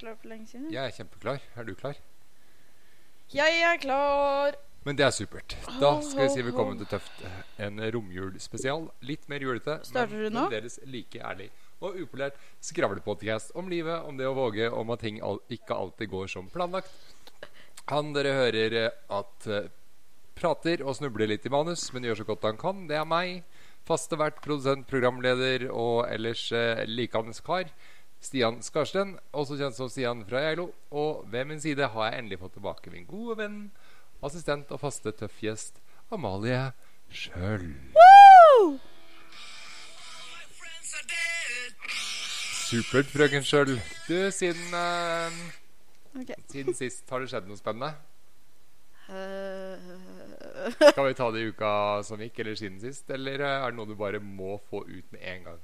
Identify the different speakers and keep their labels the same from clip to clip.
Speaker 1: klar for lenge siden.
Speaker 2: Jeg er kjempeklar. Er du klar?
Speaker 1: Jeg er klar!
Speaker 2: Men det er supert. Da skal vi si velkommen til Tøft. En romjulspesial. Litt mer julete,
Speaker 1: Starter du nå?
Speaker 2: fremdeles like ærlig og upolært skravlepodcast om livet, om det å våge, om at ting al ikke alltid går som planlagt. Han dere hører eh, at eh, prater og snubler litt i manus, men gjør så godt han kan. Det er meg. Faste vert, produsent, programleder og ellers eh, likandes kar. Stian Skarsten, også kjent som Stian fra Geilo. Og ved min side har jeg endelig fått tilbake min gode venn, assistent og faste tøffgjest Amalie sjøl.
Speaker 1: Woo!
Speaker 2: Supert, frøken sjøl. Du, siden, eh,
Speaker 1: Ok.
Speaker 2: siden sist har det skjedd noe spennende.
Speaker 1: Eh,
Speaker 2: Skal vi ta det i uka som gikk, eller siden sist? Eller eh, er det noe du bare må få ut med en gang?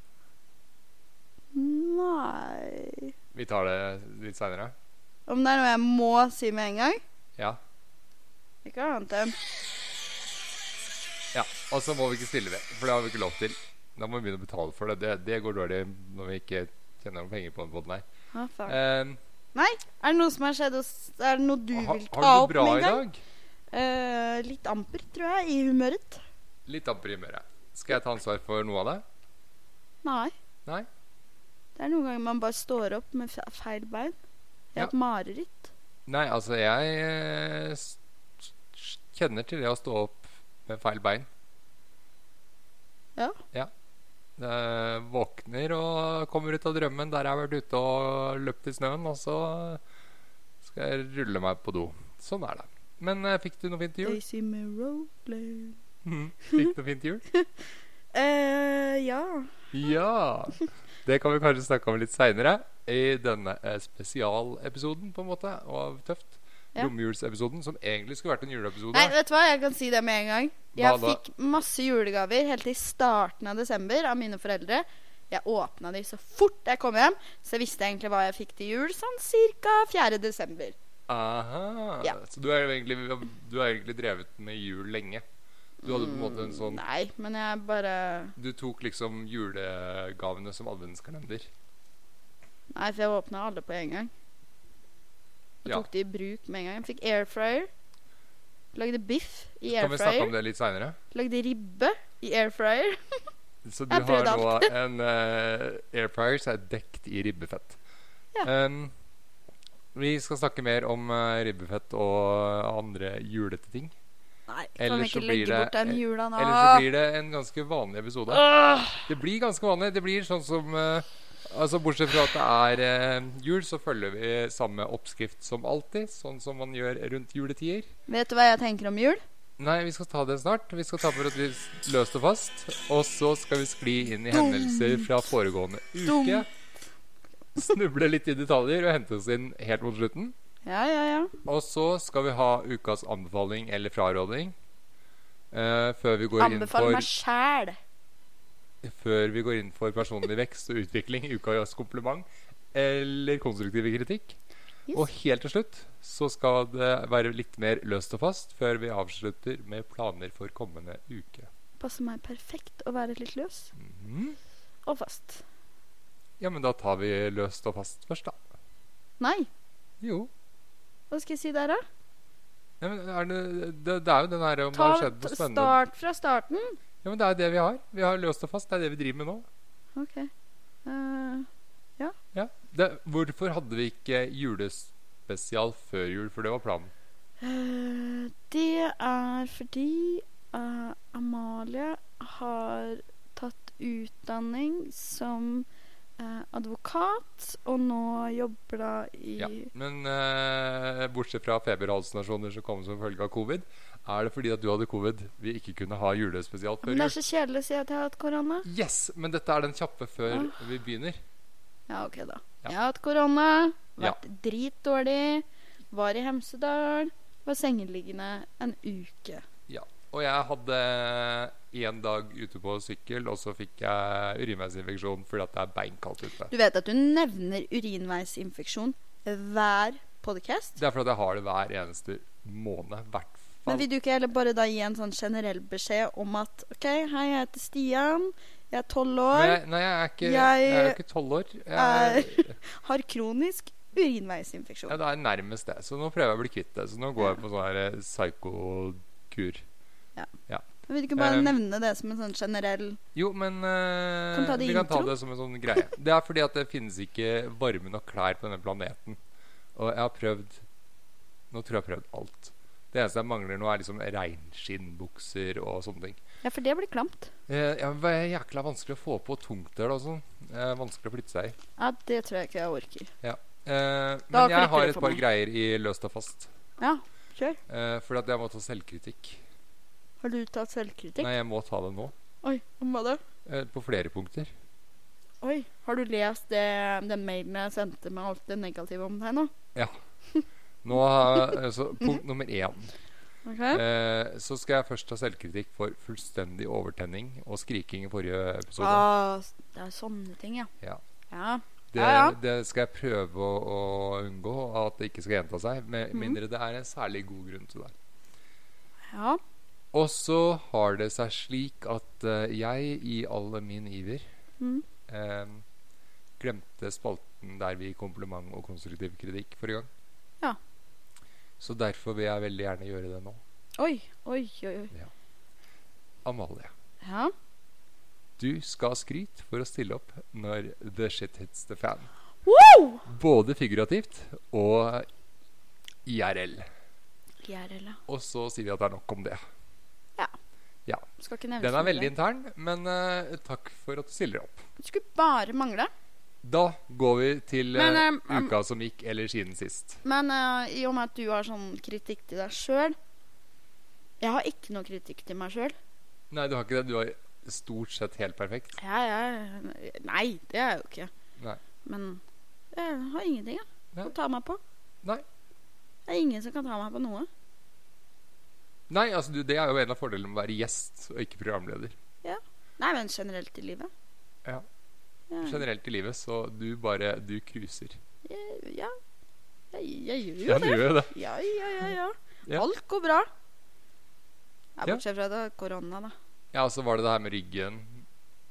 Speaker 1: Nei
Speaker 2: Vi tar det litt seinere.
Speaker 1: Om det er noe jeg må si med en gang?
Speaker 2: Ja.
Speaker 1: Ikke annet enn
Speaker 2: Ja, og så må vi ikke stille det, for det har vi ikke lov til. Da må vi begynne å betale for det. Det, det går dårlig når vi ikke tjener noen penger på den podden her.
Speaker 1: ah, faen.
Speaker 2: Eh,
Speaker 1: Nei, er det noe som har skjedd hos Er det noe du
Speaker 2: ha,
Speaker 1: vil
Speaker 2: har
Speaker 1: ta
Speaker 2: du det
Speaker 1: opp
Speaker 2: bra
Speaker 1: med
Speaker 2: i
Speaker 1: en gang?
Speaker 2: dag?
Speaker 1: Eh, litt amper, tror jeg, i humøret.
Speaker 2: Litt amper i humøret. Skal jeg ta ansvar for noe av det?
Speaker 1: Nei.
Speaker 2: Nei?
Speaker 1: Det er noen ganger man bare står opp med fe- feil bein. Jeg
Speaker 2: Ja.
Speaker 1: har et mareritt.
Speaker 2: Nei, altså, jeg eh, s- s- kjenner til det å stå opp med feil bein.
Speaker 1: Ja.
Speaker 2: Ja. Eh, våkner og kommer ut av drømmen der jeg har vært ute og løpt i snøen, og så skal jeg rulle meg på do. Sånn er det. Men eh, fikk du noe fint til jul?
Speaker 1: Daisy Merrow
Speaker 2: Mhm. Fikk du fint jul?
Speaker 1: Eh, ja.
Speaker 2: Ja! Det kan vi kanskje snakke om litt seinere i denne eh, spesialepisoden, på en måte, av Tøft.
Speaker 1: Ja.
Speaker 2: Romjulsepisoden, som egentlig skulle vært en juleepisode.
Speaker 1: Nei, vet du hva? Jeg kan si det med en gang. Jeg
Speaker 2: Hva da?
Speaker 1: fikk masse julegaver helt til starten av desember av mine foreldre. Jeg åpna de så fort jeg kom hjem, så jeg visste egentlig hva jeg fikk til jul sånn ca. 4. desember.
Speaker 2: Aha.
Speaker 1: Ja.
Speaker 2: Så du er, jo egentlig, du har egentlig drevet med jul lenge. Du hadde på en måte en sånn
Speaker 1: Mm, Nei, men jeg bare
Speaker 2: Du tok liksom julegavene som adventskalender.
Speaker 1: Nei, for jeg åpna alle på en gang. Og
Speaker 2: Ja.
Speaker 1: tok de i bruk med en gang. Jeg fikk air fryer. Lagde biff i
Speaker 2: Kan
Speaker 1: air
Speaker 2: vi snakke
Speaker 1: fryer.
Speaker 2: om det litt seinere?
Speaker 1: Lagde ribbe i air fryer.
Speaker 2: Så du
Speaker 1: Jeg
Speaker 2: har
Speaker 1: prøvde
Speaker 2: nå en eh, air fryer som er dekt i ribbefett.
Speaker 1: Ja.
Speaker 2: Em, vi skal snakke mer om eh, ribbefett og andre julete ting.
Speaker 1: Nei, kan
Speaker 2: Ellers
Speaker 1: vi
Speaker 2: så
Speaker 1: ikke
Speaker 2: blir
Speaker 1: legge
Speaker 2: det-
Speaker 1: bort den jula nå?
Speaker 2: Ellers så blir det en ganske vanlig episode.
Speaker 1: Åh!
Speaker 2: Det blir ganske vanlig. Det blir sånn som eh, Altså Bortsett fra at det er eh, jul, så følger vi samme oppskrift som alltid. Sånn som man gjør rundt juletider.
Speaker 1: Vet du hva jeg tenker om jul?
Speaker 2: Nei, vi skal ta det snart. Vi skal ta for oss litt løst og fast. Og så skal vi skli inn i hendelser fra foregående uke. Snuble litt i detaljer og hente oss inn helt mot slutten.
Speaker 1: Ja, ja, ja.
Speaker 2: Og så skal vi ha ukas anbefaling eller fraråding. eh, før, vi går inn
Speaker 1: Anbefal
Speaker 2: for,
Speaker 1: meg sjæl.
Speaker 2: før vi går inn for personlig vekst og utvikling, ukas kompliment eller konstruktiv kritikk.
Speaker 1: Yes.
Speaker 2: Og helt til slutt så skal det være litt mer løst og fast før vi avslutter med planer for kommende uke.
Speaker 1: Passer meg perfekt å være litt løs
Speaker 2: Mhm.
Speaker 1: og fast.
Speaker 2: Ja, men da tar vi løst og fast først, da.
Speaker 1: Nei,
Speaker 2: Jo.
Speaker 1: hva skal jeg si der, da?
Speaker 2: Ja, men er det, det, det er jo den her om det har
Speaker 1: Ta
Speaker 2: skjedd
Speaker 1: ta-
Speaker 2: noe spennende.
Speaker 1: start fra starten.
Speaker 2: Ja, men det er det vi har. Vi har løst og fast. Det er det vi driver med nå.
Speaker 1: OK. Eh,
Speaker 2: Ja. Det, hvorfor hadde vi ikke julespesial før jul? For det var planen.
Speaker 1: eh, det er fordi eh, Amalie har tatt utdanning som eh, advokat, og nå jobber da i
Speaker 2: Ja. Men eh, bortsett fra feberhalsinasjoner som kom som følge av covid, er det fordi at du hadde covid vi ikke kunne ha julespesial før
Speaker 1: Men det er
Speaker 2: jul?
Speaker 1: så kjedelig å si at jeg har hatt korona.
Speaker 2: Yes! Men dette er den kjappe før vi begynner.
Speaker 1: Ja, ok, da.
Speaker 2: Ja.
Speaker 1: Jeg har hatt korona,
Speaker 2: Ja.
Speaker 1: vært dritdårlig, var i Hemsedal, var sengeliggende en uke.
Speaker 2: Og jeg hadde én dag ute på sykkel, og så fikk jeg urinveisinfeksjon fordi at det er beinkaldt ute.
Speaker 1: Du vet at du nevner urinveisinfeksjon hver podcast.
Speaker 2: Det er fordi at jeg har det hver eneste måned. Hvert
Speaker 1: Men
Speaker 2: fall.
Speaker 1: vil du ikke heller bare da gi en sånn generell beskjed om at OK, hei, jeg heter Stian, jeg er tolv
Speaker 2: Men
Speaker 1: år,
Speaker 2: jeg, nei, jeg er ikke
Speaker 1: Jeg
Speaker 2: Jeg er jo ikke tolv år. Jeg,
Speaker 1: har kronisk urinveisinfeksjon.
Speaker 2: Ja, det er nærmest det. Så nå prøver jeg å bli kvitt det. Så nå går jeg på sånn her eh, psykokur.
Speaker 1: Jeg vil ikke bare
Speaker 2: Eh,
Speaker 1: nevne det som en sånn generell
Speaker 2: Jo, men eh,
Speaker 1: Kan ta det i
Speaker 2: vi kan ta
Speaker 1: introen.
Speaker 2: det som en sånn greie. Det er fordi at det finnes ikke varme nok klær på denne planeten. Og jeg har prøvd Nå tror jeg jeg har prøvd alt. Det eneste jeg mangler nå, er liksom reinskinnbukser og sånne ting.
Speaker 1: Ja, for det blir klamt.
Speaker 2: Eh, ja, men det er jækla vanskelig å få på tungtøl og sånn. Eh, vanskelig å flytte seg i.
Speaker 1: Ja, det tror jeg ikke jeg orker.
Speaker 2: Eh,
Speaker 1: Da
Speaker 2: men jeg
Speaker 1: klikker
Speaker 2: har
Speaker 1: det
Speaker 2: et
Speaker 1: for
Speaker 2: par
Speaker 1: meg.
Speaker 2: greier i løst og fast.
Speaker 1: Ja, kjør.
Speaker 2: Eh, fordi at jeg må ta selvkritikk.
Speaker 1: Har du tatt selvkritikk?
Speaker 2: Nei, jeg må ta det nå.
Speaker 1: Oi, om hva da?
Speaker 2: Eh, på flere punkter.
Speaker 1: Oi, har du lest det, den mailen jeg sendte med alt det negative om deg nå?
Speaker 2: Nå har, altså,
Speaker 1: Mhm.
Speaker 2: punkt nummer én.
Speaker 1: Ok?
Speaker 2: Eh, så skal jeg først ta selvkritikk for fullstendig overtenning og skriking i forrige episode.
Speaker 1: Ah, s- det er sånne ting, ja.
Speaker 2: Ja.
Speaker 1: Ja,
Speaker 2: Det,
Speaker 1: ja, ja.
Speaker 2: det skal jeg prøve å, å unngå, at det ikke skal gjenta seg. Med
Speaker 1: Mhm.
Speaker 2: mindre det er en særlig god grunn til det.
Speaker 1: ja.
Speaker 2: Og så har det seg slik at eh, jeg i all min iver
Speaker 1: Mhm.
Speaker 2: eh, glemte spalten der vi gir kompliment og konstruktiv kritikk forrige gang.
Speaker 1: Ja.
Speaker 2: Så derfor vil jeg veldig gjerne gjøre det nå.
Speaker 1: Oi, oi, oi. oi.
Speaker 2: Amalie.
Speaker 1: Ja.
Speaker 2: Du skal ha skryt for å stille opp når the shit hits the fan.
Speaker 1: Wow!
Speaker 2: Både figurativt og IRL.
Speaker 1: IRL, ja.
Speaker 2: Og så sier vi at det er nok om det.
Speaker 1: Skal ikke nevne
Speaker 2: Den
Speaker 1: så
Speaker 2: er
Speaker 1: mye.
Speaker 2: veldig intern, men eh, takk for at du stiller opp.
Speaker 1: Skulle bare mangle.
Speaker 2: Da går vi til eh,
Speaker 1: Men, eh,
Speaker 2: uka som gikk, eller siden sist.
Speaker 1: Men eh, i og med at du har sånn kritikk til deg sjøl Jeg har ikke noe kritikk til meg sjøl.
Speaker 2: Nei, du har ikke det. Du har stort sett helt perfekt.
Speaker 1: Ja, ja. Nei, det er jeg jo ikke.
Speaker 2: Nei.
Speaker 1: Men jeg har ingenting jeg,
Speaker 2: Nei.
Speaker 1: å ta meg på.
Speaker 2: Nei.
Speaker 1: Det er ingen som kan ta meg på noe.
Speaker 2: Nei, altså du, det er jo en av fordelene med å være gjest og ikke programleder.
Speaker 1: Nei, men generelt i livet.
Speaker 2: Ja.
Speaker 1: Ja,
Speaker 2: Generelt i livet, så du bare Du cruiser.
Speaker 1: jeg- ja. Jeg, jeg gjør jo
Speaker 2: Ja, du
Speaker 1: det.
Speaker 2: gjør jo det.
Speaker 1: Ja, ja, ja, ja.
Speaker 2: Ja.
Speaker 1: Alt går bra. Ja,
Speaker 2: Ja.
Speaker 1: bortsett fra det korona, da.
Speaker 2: Ja, og så var det det her med ryggen.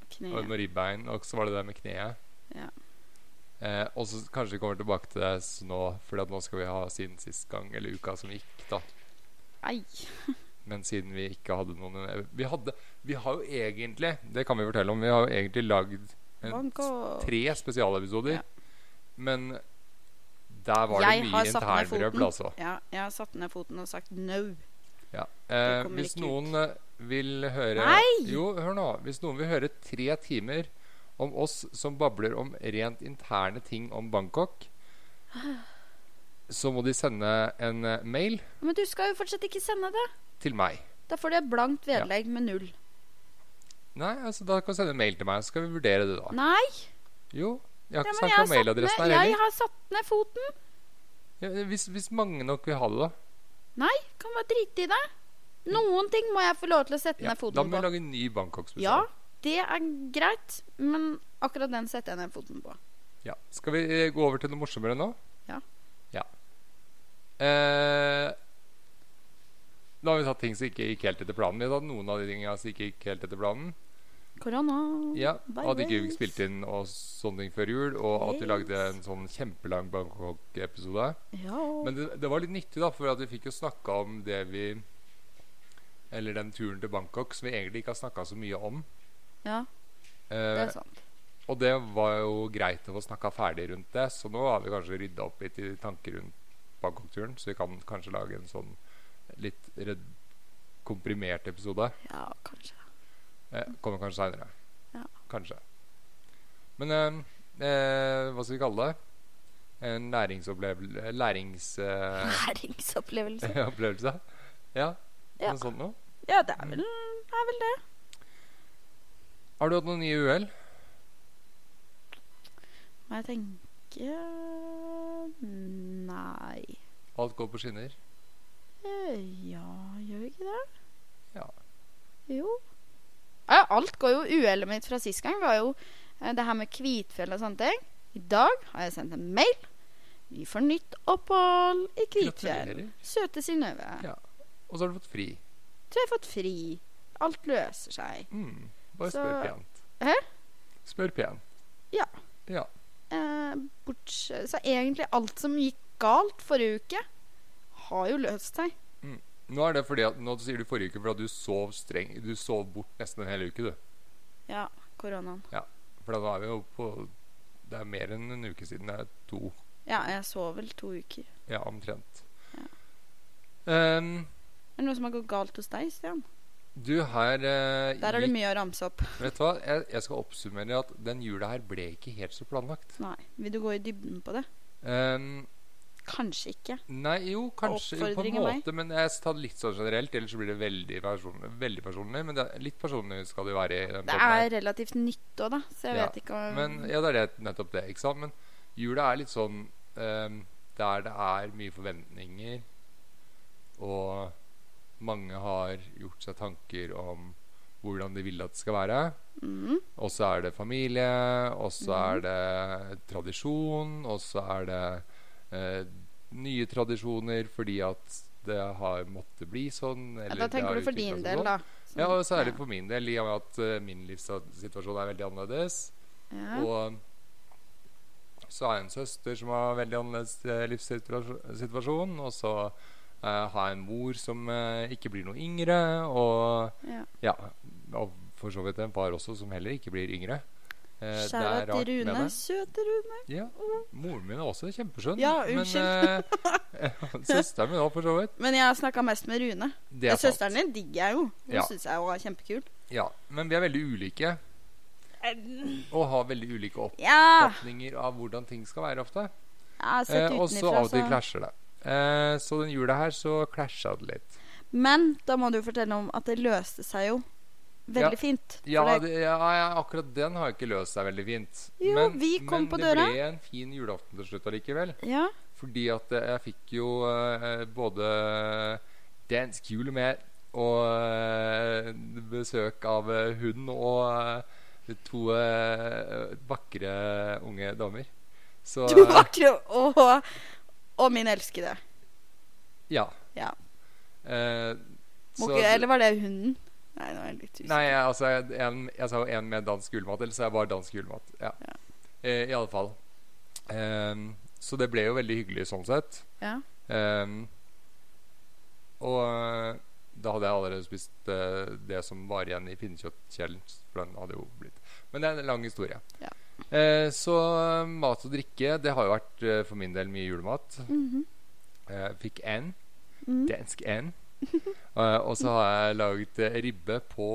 Speaker 2: Og
Speaker 1: Kneet.
Speaker 2: med ribbein, og så var det det med kneet.
Speaker 1: Ja.
Speaker 2: Eh, og så kanskje vi kommer tilbake til det s- nå, for at nå skal vi ha siden sist gang, eller uka som gikk, da.
Speaker 1: Ei.
Speaker 2: Men siden vi ikke hadde noen eh, Vi, hadde, vi har jo egentlig, det kan vi fortelle om, vi har jo egentlig lagd en-
Speaker 1: Bank og
Speaker 2: tre spesialepisoder.
Speaker 1: Ja.
Speaker 2: Men der var
Speaker 1: Jeg
Speaker 2: det mye
Speaker 1: har satt ned
Speaker 2: internbrøbbel,
Speaker 1: foten.
Speaker 2: altså.
Speaker 1: Ja, jeg har satt ned foten og sagt no.
Speaker 2: Ja. Eh,
Speaker 1: kommer
Speaker 2: hvis
Speaker 1: ikke
Speaker 2: noen eh, vil høre Jo, hør nå. Hvis noen vil høre tre timer om oss som babler om rent interne ting om Bangkok, så må de sende en eh, mail
Speaker 1: Men du skal jo fortsatt ikke sende det.
Speaker 2: til meg.
Speaker 1: Da får du et blankt
Speaker 2: Ja.
Speaker 1: vedlegg med null.
Speaker 2: Nei, altså da kan du sende en mail til meg, så skal vi vurdere det da.
Speaker 1: Nei,
Speaker 2: Jo, jeg
Speaker 1: ja, men
Speaker 2: har ikke
Speaker 1: jeg
Speaker 2: snakket
Speaker 1: har,
Speaker 2: om
Speaker 1: satt ned,
Speaker 2: mailadressen her
Speaker 1: jeg
Speaker 2: heller.
Speaker 1: har satt ned foten.
Speaker 2: Ja, hvis, hvis mange nok vil ha det, da.
Speaker 1: Kan bare drite i det. Noen ting må jeg få lov til å sette
Speaker 2: Ja,
Speaker 1: ned
Speaker 2: da
Speaker 1: foten
Speaker 2: må vi
Speaker 1: på.
Speaker 2: lage en ny
Speaker 1: Ja,
Speaker 2: Bangkok-spesial.
Speaker 1: det er greit, men akkurat den setter jeg ned foten på.
Speaker 2: Ja. Skal vi eh, gå over til noe morsommere nå?
Speaker 1: Ja.
Speaker 2: Ja. Eh, da har vi tatt ting som ikke gikk helt etter planen. Vi har tatt noen av de tingene som ikke gikk helt etter planen.
Speaker 1: Korona.
Speaker 2: Ja,
Speaker 1: Bye,
Speaker 2: og At ikke vi
Speaker 1: guys.
Speaker 2: spilte inn og sånne ting før jul, og at vi lagde
Speaker 1: Yes.
Speaker 2: en sånn kjempelang Bangkok-episode.
Speaker 1: Ja.
Speaker 2: Men det, det var litt nyttig, da, for at vi fikk jo snakka om det vi Eller den turen til Bangkok som vi egentlig ikke har snakka så mye om.
Speaker 1: ja, det
Speaker 2: Eh,
Speaker 1: er sant.
Speaker 2: og det var jo greit å få snakka ferdig rundt det, så nå har vi kanskje rydda opp litt i tanker rundt Bangkok-turen, så vi kan kanskje lage en sånn litt red komprimert episode.
Speaker 1: Ja, kanskje.
Speaker 2: Eh, kommer kanskje seinere.
Speaker 1: Ja.
Speaker 2: Kanskje. Men eh, eh, hva skal vi kalle det? En læringsopplevelse Læringsopplevelse?
Speaker 1: Læringsopplevelse.
Speaker 2: Eh, opplevelse? ja,
Speaker 1: Ja.
Speaker 2: noe sånt noe?
Speaker 1: Ja, det er vel, det er vel det.
Speaker 2: Har du hatt noen nye uhell?
Speaker 1: Må jeg tenke Nei.
Speaker 2: Alt går på skinner?
Speaker 1: Eh, Ja, gjør vi ikke det?
Speaker 2: Ja.
Speaker 1: Jo. Ja, alt går jo uhellet mitt fra sist gang var jo eh, det her med Kvitfjell og sånne ting. I dag har jeg sendt en mail. Vi får nytt opphold i Kvitfjell.
Speaker 2: Gratulerer.
Speaker 1: Søte Synnøve.
Speaker 2: Ja. Og så har du fått fri.
Speaker 1: Tror jeg har fått fri. Alt løser seg.
Speaker 2: Mm. Bare
Speaker 1: Så-
Speaker 2: spør pent.
Speaker 1: Hæ?
Speaker 2: Spør pent.
Speaker 1: Ja.
Speaker 2: ja.
Speaker 1: Eh, borts, så egentlig alt som gikk galt forrige uke, har jo løst seg.
Speaker 2: Nå er det fordi at, nå sier du forrige uke for at du sov streng Du sov bort nesten en hel uke, du.
Speaker 1: Ja, koronaen.
Speaker 2: For da er vi jo på Det er mer enn en uke siden. Det er to.
Speaker 1: Ja, jeg sov vel to uker.
Speaker 2: Ja, omtrent.
Speaker 1: Ja.
Speaker 2: Ehm,
Speaker 1: Er det noe som har gått galt hos deg, Stian?
Speaker 2: du her eh,
Speaker 1: Der er det
Speaker 2: gikk-
Speaker 1: mye å ramse opp.
Speaker 2: Vet du hva? Jeg, jeg skal oppsummere at den jula her ble ikke helt så planlagt.
Speaker 1: Nei. Vil du gå i dybden på det?
Speaker 2: Ehm,
Speaker 1: Kanskje ikke.
Speaker 2: Nei, jo, kanskje på en
Speaker 1: Oppfordring av meg?
Speaker 2: måte, men jeg tar det litt sånn generelt. Ellers så blir det veldig personlig. Veldig personlig men det er litt personlig skal det jo være. i den
Speaker 1: Det
Speaker 2: podden her.
Speaker 1: er relativt nytt òg, da, så jeg
Speaker 2: Ja,
Speaker 1: vet ikke om
Speaker 2: Men ja, det er det, nettopp det. ikke sant? Men jula er litt sånn ehm, der det er mye forventninger, og mange har gjort seg tanker om hvordan de vil at det skal være.
Speaker 1: Mhm.
Speaker 2: Og så er det familie, og så er det tradisjon, og så er det eh, nye tradisjoner fordi at det har måttet bli sånn.
Speaker 1: ja,
Speaker 2: eller
Speaker 1: Da
Speaker 2: det har
Speaker 1: tenker du for din
Speaker 2: utviklet seg
Speaker 1: del,
Speaker 2: sånn.
Speaker 1: da.
Speaker 2: Ja, og særlig for min del, i og med at eh, min livssituasjon er veldig annerledes.
Speaker 1: ja.
Speaker 2: eh, Og eh, så har jeg en søster som har veldig annerledes eh, livssituasjon. Og så eh, har jeg en mor som eh, ikke blir noe yngre. Og
Speaker 1: Ja.
Speaker 2: ja, og for så vidt en far også som heller ikke blir yngre. Eh, det
Speaker 1: Skjæra
Speaker 2: er
Speaker 1: til
Speaker 2: rart med
Speaker 1: Rune.
Speaker 2: det.
Speaker 1: Søte Rune.
Speaker 2: Ja, Moren min er også kjempeskjønn.
Speaker 1: Ja,
Speaker 2: Men eh, søsteren min òg, for så vidt.
Speaker 1: Men jeg har snakka mest med Rune.
Speaker 2: Det er sant.
Speaker 1: Søsteren din digger jeg jo. Hun
Speaker 2: Ja.
Speaker 1: syns jeg jo er kjempekul.
Speaker 2: Ja, men vi er veldig ulike. Og har veldig ulike
Speaker 1: Ja!
Speaker 2: oppfatninger av hvordan ting skal være ofte.
Speaker 1: Jeg har sett
Speaker 2: Eh, og så
Speaker 1: utenfra,
Speaker 2: av og til klasjer det. Eh, så den jula her så klasja det litt.
Speaker 1: Men da må du fortelle om at det løste seg jo veldig
Speaker 2: Ja.
Speaker 1: fint.
Speaker 2: Ja,
Speaker 1: For det,
Speaker 2: det, ja, ja, akkurat den har jo ikke løst seg veldig fint.
Speaker 1: Jo, vi kom
Speaker 2: men
Speaker 1: på
Speaker 2: det
Speaker 1: døra.
Speaker 2: ble en fin julaften til slutt allikevel.
Speaker 1: ja.
Speaker 2: Fordi at eh, jeg fikk jo eh, både dansk jul med og eh, besøk av eh, hund og eh, to eh, vakre unge damer. Så
Speaker 1: To vakre og, og min elskede.
Speaker 2: Ja.
Speaker 1: Ja.
Speaker 2: Eh,
Speaker 1: Må
Speaker 2: så-
Speaker 1: ikke, eller var det hunden? Nei, nå er jeg litt usikker.
Speaker 2: Nei, jeg, altså, jeg- en, jeg sa jo en med dansk julemat, eller så er jeg bare dansk julemat. Ja. Eh, I alle fall. Ehm, så det ble jo veldig hyggelig sånn sett.
Speaker 1: Ja.
Speaker 2: Ehm, og eh, da hadde jeg allerede spist eh, det som var igjen i pinnekjøttkjelen. For den hadde jo blitt Men det er en lang historie.
Speaker 1: Ja.
Speaker 2: Eh, så eh, mat og drikke, det har jo vært eh, for min del mye julemat.
Speaker 1: Mhm.
Speaker 2: Eh, fikk en.
Speaker 1: Mhm.
Speaker 2: Dansk en. Eh, og så har jeg laget eh, ribbe på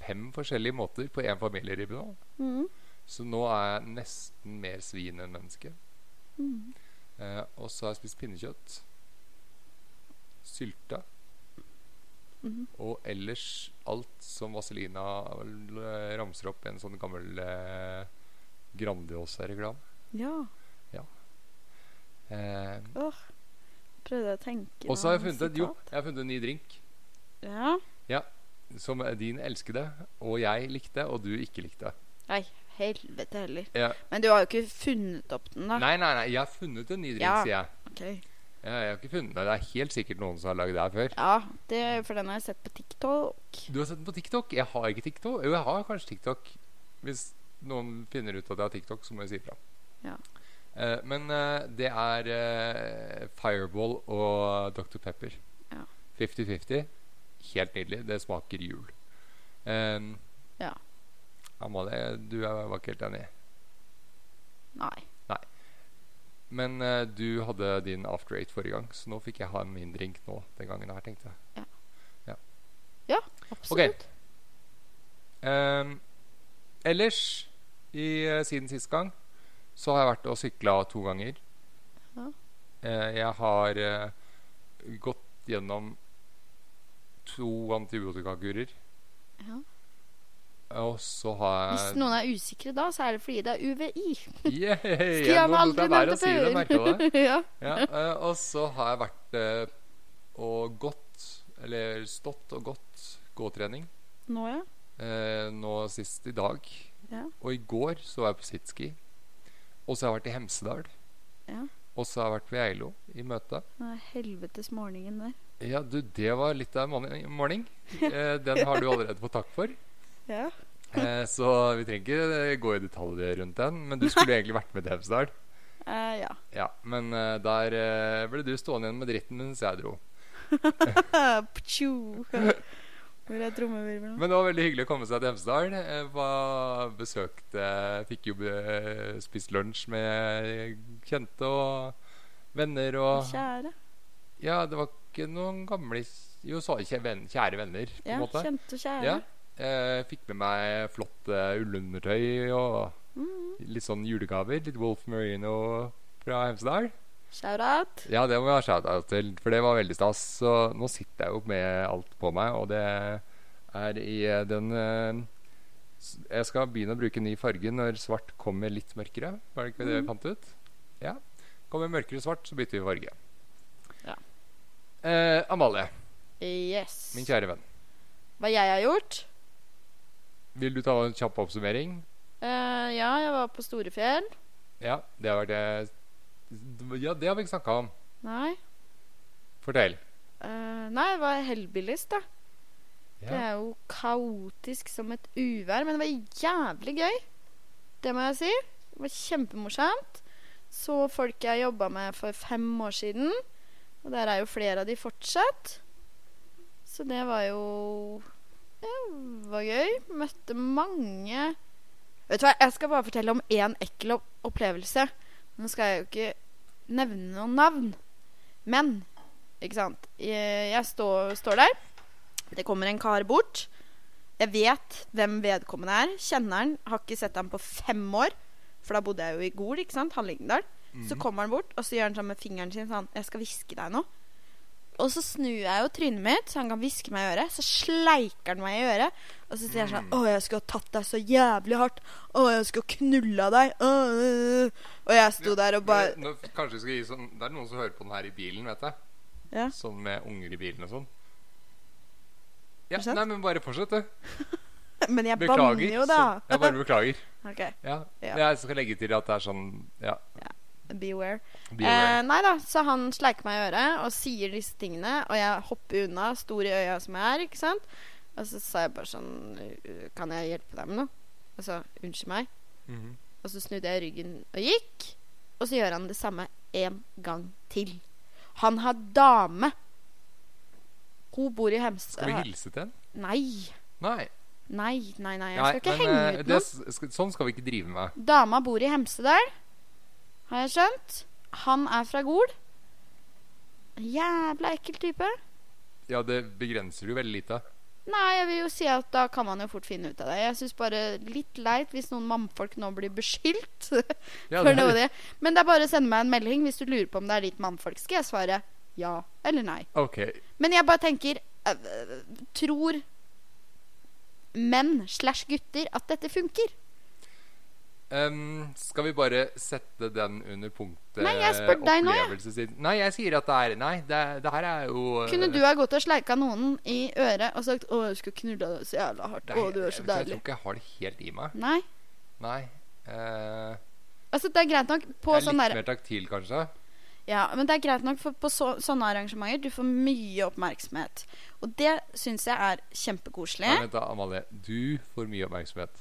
Speaker 2: fem forskjellige måter på én familieribbe nå.
Speaker 1: Mhm.
Speaker 2: Så nå er jeg nesten mer svin enn menneske.
Speaker 1: Mhm.
Speaker 2: Eh, og så har jeg spist pinnekjøtt. Sylte.
Speaker 1: Mhm.
Speaker 2: Og ellers alt som Vazelina eh, ramser opp i en sånn gammel eh, Grandiosa-reglame.
Speaker 1: ja.
Speaker 2: Eh,
Speaker 1: Åh. Prøvde jeg å tenke
Speaker 2: og så har jeg
Speaker 1: noe
Speaker 2: funnet, et- jo,
Speaker 1: sitat.
Speaker 2: jeg har funnet en ny drink.
Speaker 1: Ja.
Speaker 2: som din elskede og jeg likte, og du ikke likte.
Speaker 1: Nei, helvete heller.
Speaker 2: Ja.
Speaker 1: Men du har jo ikke funnet opp den, da.
Speaker 2: Nei, nei, nei, jeg har funnet en ny drink,
Speaker 1: Ja.
Speaker 2: sier jeg.
Speaker 1: Ok.
Speaker 2: Ja, jeg har ikke funnet den. Det er helt sikkert noen som har lagd det her før.
Speaker 1: Ja, det, for den har jeg sett på TikTok.
Speaker 2: Du har sett den på TikTok? Jeg har ikke TikTok. Jo, jeg har kanskje TikTok. Hvis noen finner ut at jeg har TikTok, så må jeg si ifra.
Speaker 1: Ja.
Speaker 2: Eh, men eh, det er eh, Fireball og Dr. Pepper.
Speaker 1: Ja.
Speaker 2: 50-50. Helt nydelig. Det smaker jul. Em,
Speaker 1: Ja.
Speaker 2: Amalie, du er, var ikke helt enig.
Speaker 1: Nei.
Speaker 2: Men eh, du hadde din after eight forrige gang, så nå fikk jeg ha min drink nå. den gangen her, tenkte jeg.
Speaker 1: Absolutt.
Speaker 2: Ehm, ellers, i, eh, siden sist gang, så har jeg vært og sykla to ganger.
Speaker 1: Ja.
Speaker 2: Eh, jeg har eh, gått gjennom to antibiotikakurer.
Speaker 1: Ja.
Speaker 2: Og så har
Speaker 1: Hvis
Speaker 2: jeg
Speaker 1: noen er usikre da, så er det fordi det er UVI.
Speaker 2: Yeah,
Speaker 1: Stian
Speaker 2: nå
Speaker 1: har
Speaker 2: lot
Speaker 1: aldri
Speaker 2: jeg være å
Speaker 1: nevnt
Speaker 2: si det,
Speaker 1: det
Speaker 2: merka du det?
Speaker 1: før. ja.
Speaker 2: ja, eh, og så har jeg vært eh, og gått, eller stått og gått, gåtrening.
Speaker 1: Nå, ja.
Speaker 2: eh, nå sist i dag.
Speaker 1: Ja.
Speaker 2: Og i går så var jeg på sitski. Og så har jeg vært i Hemsedal.
Speaker 1: Ja.
Speaker 2: Og så har jeg vært på Geilo i møte.
Speaker 1: Den er helvetes morgenen der.
Speaker 2: Ja, du, det var litt av en morgen. morgen. Eh, den har du allerede fått takk for.
Speaker 1: Ja.
Speaker 2: Eh, så vi trenger ikke eh, gå i detalj rundt den. Men du skulle jo egentlig vært med til Hemsedal.
Speaker 1: Eh, ja.
Speaker 2: Ja, men eh, der eh, ble du stående igjen med dritten mens jeg dro.
Speaker 1: Ptjo. Hvor er trommevirvelen?
Speaker 2: Men det var veldig hyggelig å komme seg til Hemsedal. Jeg var, besøkte Fikk jo be- spist lunsj med kjente og venner og
Speaker 1: Kjære.
Speaker 2: Ja, det var ikke noen gamle Jo, så ikke venn, kjære venner, på en
Speaker 1: Ja,
Speaker 2: måte.
Speaker 1: kjente kjære.
Speaker 2: Ja. Jeg fikk med meg flott eh, ullundertøy og
Speaker 1: Mm.
Speaker 2: litt sånn julegaver. Litt Wolf Marino fra Hemsedal.
Speaker 1: Shout out.
Speaker 2: Ja, det må jeg ha shout-out til, for det var veldig stas. Så nå sitter jeg jo med alt på meg, og det er i eh, den eh, s- Jeg skal begynne å bruke ny farge når svart kommer litt mørkere. Var det ikke det vi fant ut? Ja. Kommer mørkere svart, så bytter vi farge.
Speaker 1: Ja.
Speaker 2: Eh, Amalie,
Speaker 1: Yes.
Speaker 2: min kjære venn.
Speaker 1: Hva jeg har gjort?
Speaker 2: Vil du ta en kjapp oppsummering?
Speaker 1: Eh, ja, jeg var på Storefjell.
Speaker 2: Ja, det har vært eh, Ja, det har vi ikke snakka om.
Speaker 1: Nei.
Speaker 2: Fortell.
Speaker 1: Eh, nei, det var Hellbillies, da. Det
Speaker 2: Ja.
Speaker 1: er jo kaotisk som et uvær, men det var jævlig gøy. Det må jeg si. Det var kjempemorsomt. Så folk jeg jobba med for fem år siden, og der er jo flere av de fortsatt. Så det var jo Ja, det var gøy. Møtte mange Vet du hva, jeg skal bare fortelle om én ekkel opp- opplevelse. Nå skal jeg jo ikke nevne noen navn. Men, ikke sant Jeg jeg står, står der. Det kommer en kar bort. Jeg vet hvem vedkommende er. Kjenner han. Har ikke sett han på fem år. For da bodde jeg jo i Gol, ikke sant? Hallingdal. Så kommer han bort, og så gjør han sånn med fingeren sin sånn Jeg skal hviske deg noe. Og så snur jeg jo trynet mitt, så han kan hviske meg i øret. Så sleiker han meg i øret. Og så sier han sånn Å, jeg skulle ha tatt deg så jævlig hardt. Å, jeg skulle ha knulla deg. Å, øh, øh». Og jeg sto der og bare
Speaker 2: Nå, kanskje vi skal gi sånn Det er noen som hører på den her i bilen, vet jeg.
Speaker 1: Ja.
Speaker 2: Sånn med unger i bilen og sånn. Ja,
Speaker 1: Fortsett.
Speaker 2: nei, men bare fortsett, du.
Speaker 1: Men jeg banner
Speaker 2: Beklager.
Speaker 1: jo, da.
Speaker 2: Så, jeg bare beklager.
Speaker 1: Ok,
Speaker 2: Ja.
Speaker 1: Ja.
Speaker 2: Jeg skal legge til at det er sånn Ja.
Speaker 1: beware.
Speaker 2: be
Speaker 1: Eh,
Speaker 2: aware.
Speaker 1: nei da, så han sleiker meg i øret og sier disse tingene, og jeg hopper unna, stor i øya som jeg er, ikke sant? Og så sa jeg bare sånn «Øh, Kan jeg hjelpe deg med noe? Altså, unnskyld meg.
Speaker 2: Mhm.
Speaker 1: Og så snudde jeg ryggen og gikk. Og så gjør han det samme en gang til. Han har dame. Hun bor i Hemsedal.
Speaker 2: Skal vi hilse til en?
Speaker 1: Nei.
Speaker 2: Nei.
Speaker 1: Nei, nei, nei. Jeg
Speaker 2: nei,
Speaker 1: skal ikke
Speaker 2: men, eh,
Speaker 1: henge ut
Speaker 2: det,
Speaker 1: noen.
Speaker 2: s- skal, Sånn skal vi ikke drive med.
Speaker 1: Dama bor i Hemsedal, har jeg skjønt. Han er fra Gol. Jævla ekkel type.
Speaker 2: Ja, det begrenser jo veldig lite.
Speaker 1: Nei, jeg vil jo si at da kan man jo fort finne ut av det. Jeg syns bare litt leit hvis noen mannfolk nå blir beskyldt
Speaker 2: Ja,
Speaker 1: for
Speaker 2: det-
Speaker 1: noe av det. Men det er bare å sende meg en melding hvis du lurer på om det er ditt mannfolk. Skal jeg svare ja eller nei?
Speaker 2: OK.
Speaker 1: Men jeg bare tenker øh, øh, Tror menn slash gutter at dette funker?
Speaker 2: Ehm, skal vi bare sette den under punktet
Speaker 1: Nei, jeg spør deg nå, jeg.
Speaker 2: opplevelsessiden? Nei, jeg sier at det er Nei, det, det her er jo eh,
Speaker 1: Kunne du ha gått og sleika noen i øret og sagt 'Å, jeg skulle knulla deg så jævla hardt'.
Speaker 2: det
Speaker 1: Å, du er så
Speaker 2: jeg, vet ikke, jeg
Speaker 1: deilig.
Speaker 2: tror ikke jeg har det helt i meg.
Speaker 1: Nei.
Speaker 2: Nei. eh,
Speaker 1: Altså, det er greit nok på
Speaker 2: jeg er litt
Speaker 1: sånne der,
Speaker 2: mer taktil, kanskje.
Speaker 1: Ja, men det er greit nok for på så, sånne arrangementer. Du får mye oppmerksomhet. Og det syns jeg er
Speaker 2: Nei,
Speaker 1: kjempekoselig.
Speaker 2: vent da, Amalie. Du får mye oppmerksomhet.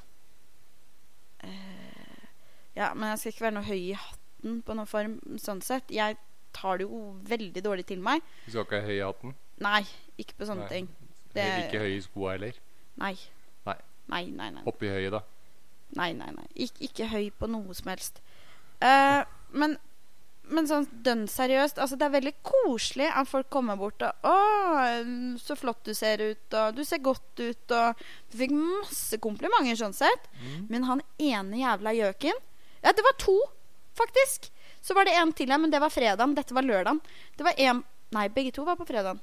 Speaker 1: Ja, men jeg skal ikke være noe høy i hatten på noen form sånn sett. Jeg tar det jo veldig dårlig til meg.
Speaker 2: Du skal ikke ha høy i hatten.
Speaker 1: Nei, ikke på sånne
Speaker 2: Nei.
Speaker 1: ting. Det-
Speaker 2: Heller ikke høy i skoa heller.
Speaker 1: Nei.
Speaker 2: Nei.
Speaker 1: Nei, nei, nei.
Speaker 2: Hoppe i høyet, da.
Speaker 1: Nei, nei, nei. Ik ikke høy på noe som helst. Eh, men, men sånn dønn seriøst Altså, det er veldig koselig at folk kommer bort og 'Å, så flott du ser ut', og 'Du ser godt ut', og Du fikk masse komplimenter sånn sett.
Speaker 2: Mm.
Speaker 1: Men han ene jævla gjøken Ja, det var to, faktisk. Så var det en til her, men det var fredagen. Dette var lørdagen. Det var en Nei, begge to var på fredagen.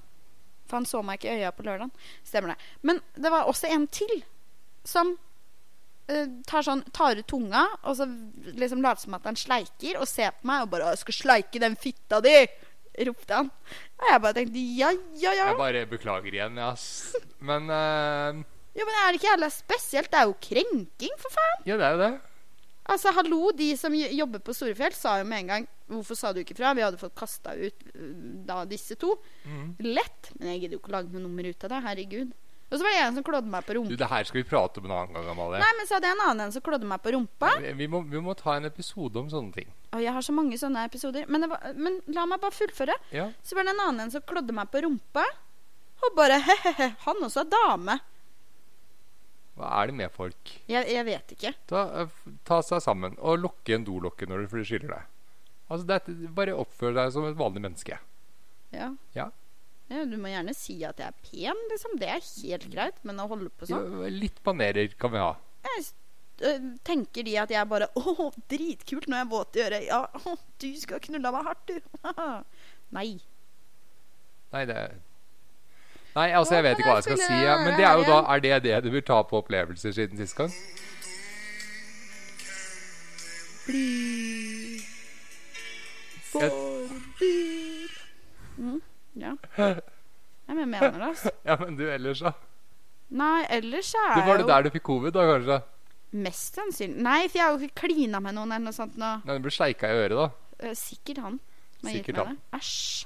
Speaker 1: For han så meg ikke i øya på lørdagen. Stemmer det. Men det var også en til som eh, tar, sånn, tar ut tunga og så liksom later som at han sleiker, og ser på meg og bare 'Å, 'Jeg skal sleike den fitta di!' ropte han. Og jeg bare tenkte ja, ja, ja.
Speaker 2: Jeg bare beklager igjen, ja, ass. Men eh,
Speaker 1: Jo, men er det ikke jævla spesielt? Det er jo krenking, for faen.
Speaker 2: Ja, det er jo det.
Speaker 1: Altså, hallo, de som jo- jobber på Storefjell, sa jo med en gang 'Hvorfor sa du ikke fra?' Vi hadde fått kasta ut øh, da disse to.
Speaker 2: Mhm.
Speaker 1: Lett. Men jeg gidder jo ikke å lage noe nummer ut av det. Herregud. Og så var det en som klådde meg på
Speaker 2: Du,
Speaker 1: rumpa.
Speaker 2: det her skal vi prate om en annen gang, Amalie.
Speaker 1: Nei, men så hadde jeg en annen en som klådde meg på rumpa.
Speaker 2: Vi, vi, må, vi må ta en episode om sånne ting.
Speaker 1: Og jeg har så mange sånne episoder. Men, det var, men la meg bare fullføre.
Speaker 2: Ja.
Speaker 1: Så var det en annen en som klådde meg på rumpa. Og bare he-he-he, han også er dame.
Speaker 2: Hva er det med folk?
Speaker 1: Jeg, jeg vet ikke.
Speaker 2: Ta, eh, f- ta seg sammen og lukke igjen dolokket når du skiller deg. Altså, det er, bare oppfør deg som et vanlig menneske.
Speaker 1: Ja.
Speaker 2: Ja.
Speaker 1: Ja, du må gjerne si at jeg er pen, liksom. Det er helt greit. Men å holde på sånn
Speaker 2: Ja, Litt manerer kan vi ha.
Speaker 1: jeg, s- øh, Tenker de at jeg bare Å, dritkult når jeg er våt i øret. Ja, å, du skal knulla meg hardt, du. Nei.
Speaker 2: Nei, det Nei, altså, jeg
Speaker 1: Nå
Speaker 2: vet
Speaker 1: kan
Speaker 2: ikke hva
Speaker 1: jeg
Speaker 2: jeg skal
Speaker 1: spille
Speaker 2: si. Ja. Men
Speaker 1: det
Speaker 2: det er
Speaker 1: her
Speaker 2: jo da
Speaker 1: igjen.
Speaker 2: Er det det du vil ta på opplevelser siden sist gang?
Speaker 1: Blir
Speaker 2: Jeg-
Speaker 1: forbyr mm, Ja. Nei, men Jeg mener det, altså.
Speaker 2: Ja, men du ellers, da?
Speaker 1: Nei, ellers så
Speaker 2: Du,
Speaker 1: er
Speaker 2: var
Speaker 1: jeg
Speaker 2: det
Speaker 1: jo
Speaker 2: der du fikk covid, da, kanskje?
Speaker 1: mest sannsynlig Nei, for jeg har jo ikke klina med noen eller noe sånt nå.
Speaker 2: Nei, du ble sleika i øret, da?
Speaker 1: Eh, Sikkert han. som har gitt
Speaker 2: Sikkert
Speaker 1: meg
Speaker 2: han.
Speaker 1: det. Æsj.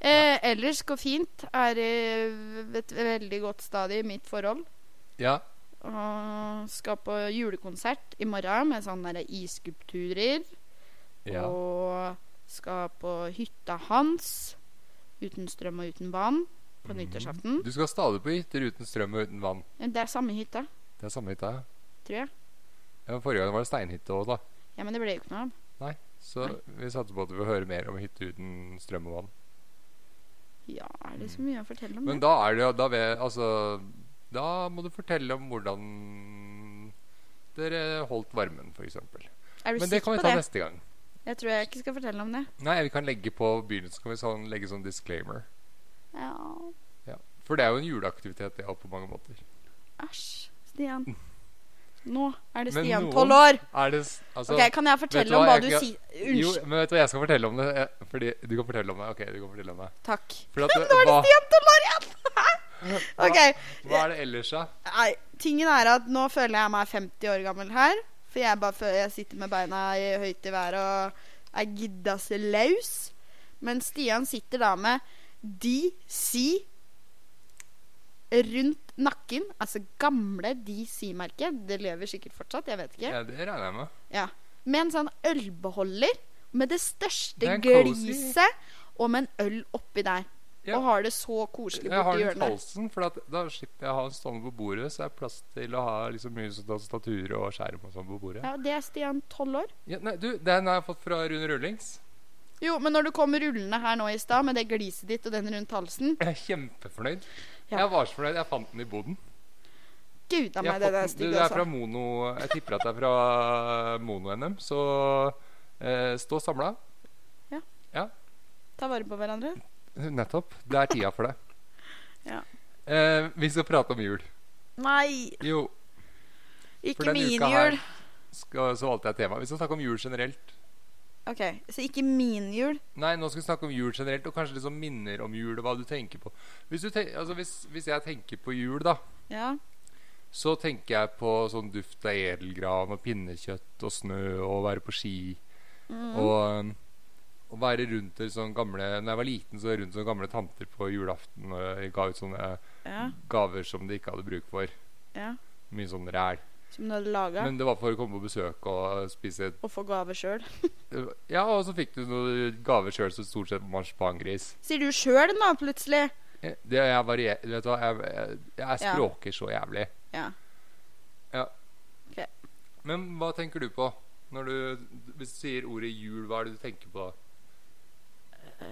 Speaker 1: Eh, ellers går fint. Er i et veldig godt stadie i mitt forhold.
Speaker 2: Ja.
Speaker 1: Og skal på julekonsert i morgen med sånne der isskulpturer.
Speaker 2: ja.
Speaker 1: Og skal på hytta hans. Uten strøm og uten vann.
Speaker 2: Mhm.
Speaker 1: På nyttårsaften.
Speaker 2: Du skal stadig på hytter uten strøm og uten vann.
Speaker 1: Det er samme hytta,
Speaker 2: Det er samme hytta. ja.
Speaker 1: tror jeg.
Speaker 2: Ja, men Forrige gang var det steinhytte òg, da.
Speaker 1: Ja, Men det ble jo ikke noe av.
Speaker 2: Nei. Så vi satser på at du får høre mer om hytte uten strøm og vann.
Speaker 1: Ja, er det så mye å fortelle om
Speaker 2: Mhm. Men
Speaker 1: det?
Speaker 2: da er det jo da, ved, altså, da må du fortelle om hvordan dere holdt varmen, f.eks.
Speaker 1: Er du
Speaker 2: Men det
Speaker 1: sikker
Speaker 2: kan vi
Speaker 1: på
Speaker 2: ta
Speaker 1: det?
Speaker 2: neste gang.
Speaker 1: Jeg tror jeg ikke skal fortelle om det.
Speaker 2: Nei, vi kan legge på begynnelsen kan vi sånn, legge sånn disclaimer.
Speaker 1: Ja,
Speaker 2: For det er jo en juleaktivitet, det òg, på mange måter.
Speaker 1: Æsj. Stian. Nå er det
Speaker 2: Mhm. Men
Speaker 1: Stian,
Speaker 2: noen-
Speaker 1: tolv år.
Speaker 2: Er det s- altså,
Speaker 1: Ok, Kan jeg fortelle
Speaker 2: du
Speaker 1: om
Speaker 2: hva,
Speaker 1: hva du
Speaker 2: jeg kan-
Speaker 1: sier?
Speaker 2: Jo,
Speaker 1: Unnskyld.
Speaker 2: men vet du hva jeg skal fortelle om det? Jeg- Fordi du kan fortelle om det. Ok, du kan fortelle om det.
Speaker 1: Takk.
Speaker 2: For at,
Speaker 1: Nå er det
Speaker 2: hva,
Speaker 1: Stian tolv år igjen! OK.
Speaker 2: hva er det ellers, da?
Speaker 1: Nei, tingen er at nå føler jeg meg 50 år gammel her. For jeg bare føler jeg sitter med beina i høyt i været og er gidda se løs. Men Stian sitter da med DC rundt nakken. Altså gamle DC-merket. Det lever sikkert fortsatt, jeg vet ikke.
Speaker 2: Ja, det regner jeg med.
Speaker 1: Ja. Med en sånn ølbeholder med det største
Speaker 2: Det er cozy.
Speaker 1: gliset og med en øl oppi der.
Speaker 2: Ja.
Speaker 1: Og har det så koselig
Speaker 2: Jeg har
Speaker 1: borti
Speaker 2: den i
Speaker 1: hjørnet.
Speaker 2: halsen, for at da slipper jeg å ha den stående på bordet. Så er det plass til å ha liksom mye sånn tastatur og skjerm og sånn på bordet. Ja.
Speaker 1: Ja, det er Stian, tolv år.
Speaker 2: nei, du, Den har jeg fått fra Rune Rullings.
Speaker 1: Jo, men når du kom rullende her nå i stad med det gliset ditt og den rundt halsen
Speaker 2: Jeg er kjempefornøyd.
Speaker 1: Ja.
Speaker 2: Jeg var så fornøyd. Jeg fant den i boden.
Speaker 1: Gud a
Speaker 2: Jeg
Speaker 1: meg,
Speaker 2: har
Speaker 1: det der
Speaker 2: fått den- du,
Speaker 1: stygge,
Speaker 2: det er
Speaker 1: altså.
Speaker 2: fra Mono Jeg tipper at det er fra Mono-NM, så eh, stå samla.
Speaker 1: Ta vare på hverandre.
Speaker 2: Nettopp. Det er tida for det.
Speaker 1: Ja.
Speaker 2: Eh, vi skal prate om jul.
Speaker 1: Nei,
Speaker 2: Jo, for
Speaker 1: ikke
Speaker 2: denne
Speaker 1: min
Speaker 2: uka her
Speaker 1: jul.
Speaker 2: skal, så valgte jeg tema. Vi skal snakke om jul generelt.
Speaker 1: Ok, så ikke min jul.
Speaker 2: Nei, nå skal vi snakke om jul generelt, og kanskje liksom minner om jul, og hva du tenker på. Hvis, du ten altså, hvis, hvis jeg tenker på jul, da,
Speaker 1: Ja.
Speaker 2: så tenker jeg på sånn duft av edelgran og pinnekjøtt og snø og være på ski
Speaker 1: Mm.
Speaker 2: og um, å være rundt til sånne gamle Når jeg var liten, så var jeg rundt sånne gamle tanter på julaften og jeg ga ut sånne
Speaker 1: Ja.
Speaker 2: gaver som de ikke hadde bruk for.
Speaker 1: ja.
Speaker 2: Mye sånn ræl.
Speaker 1: Som du hadde laga.
Speaker 2: Men det var for å komme på besøk og uh, spise
Speaker 1: Og få gave sjøl.
Speaker 2: Ja, og så fikk du noen gaver sjøl, så stort sett marsipangris.
Speaker 1: Sier du sjøl nå, plutselig?
Speaker 2: Jeg- Det jeg varier, du vet hva, jeg, jeg, jeg
Speaker 1: Ja.
Speaker 2: språker så jævlig.
Speaker 1: Ja.
Speaker 2: Men hva tenker du på når du, hvis du sier ordet jul? Hva er det du tenker på da?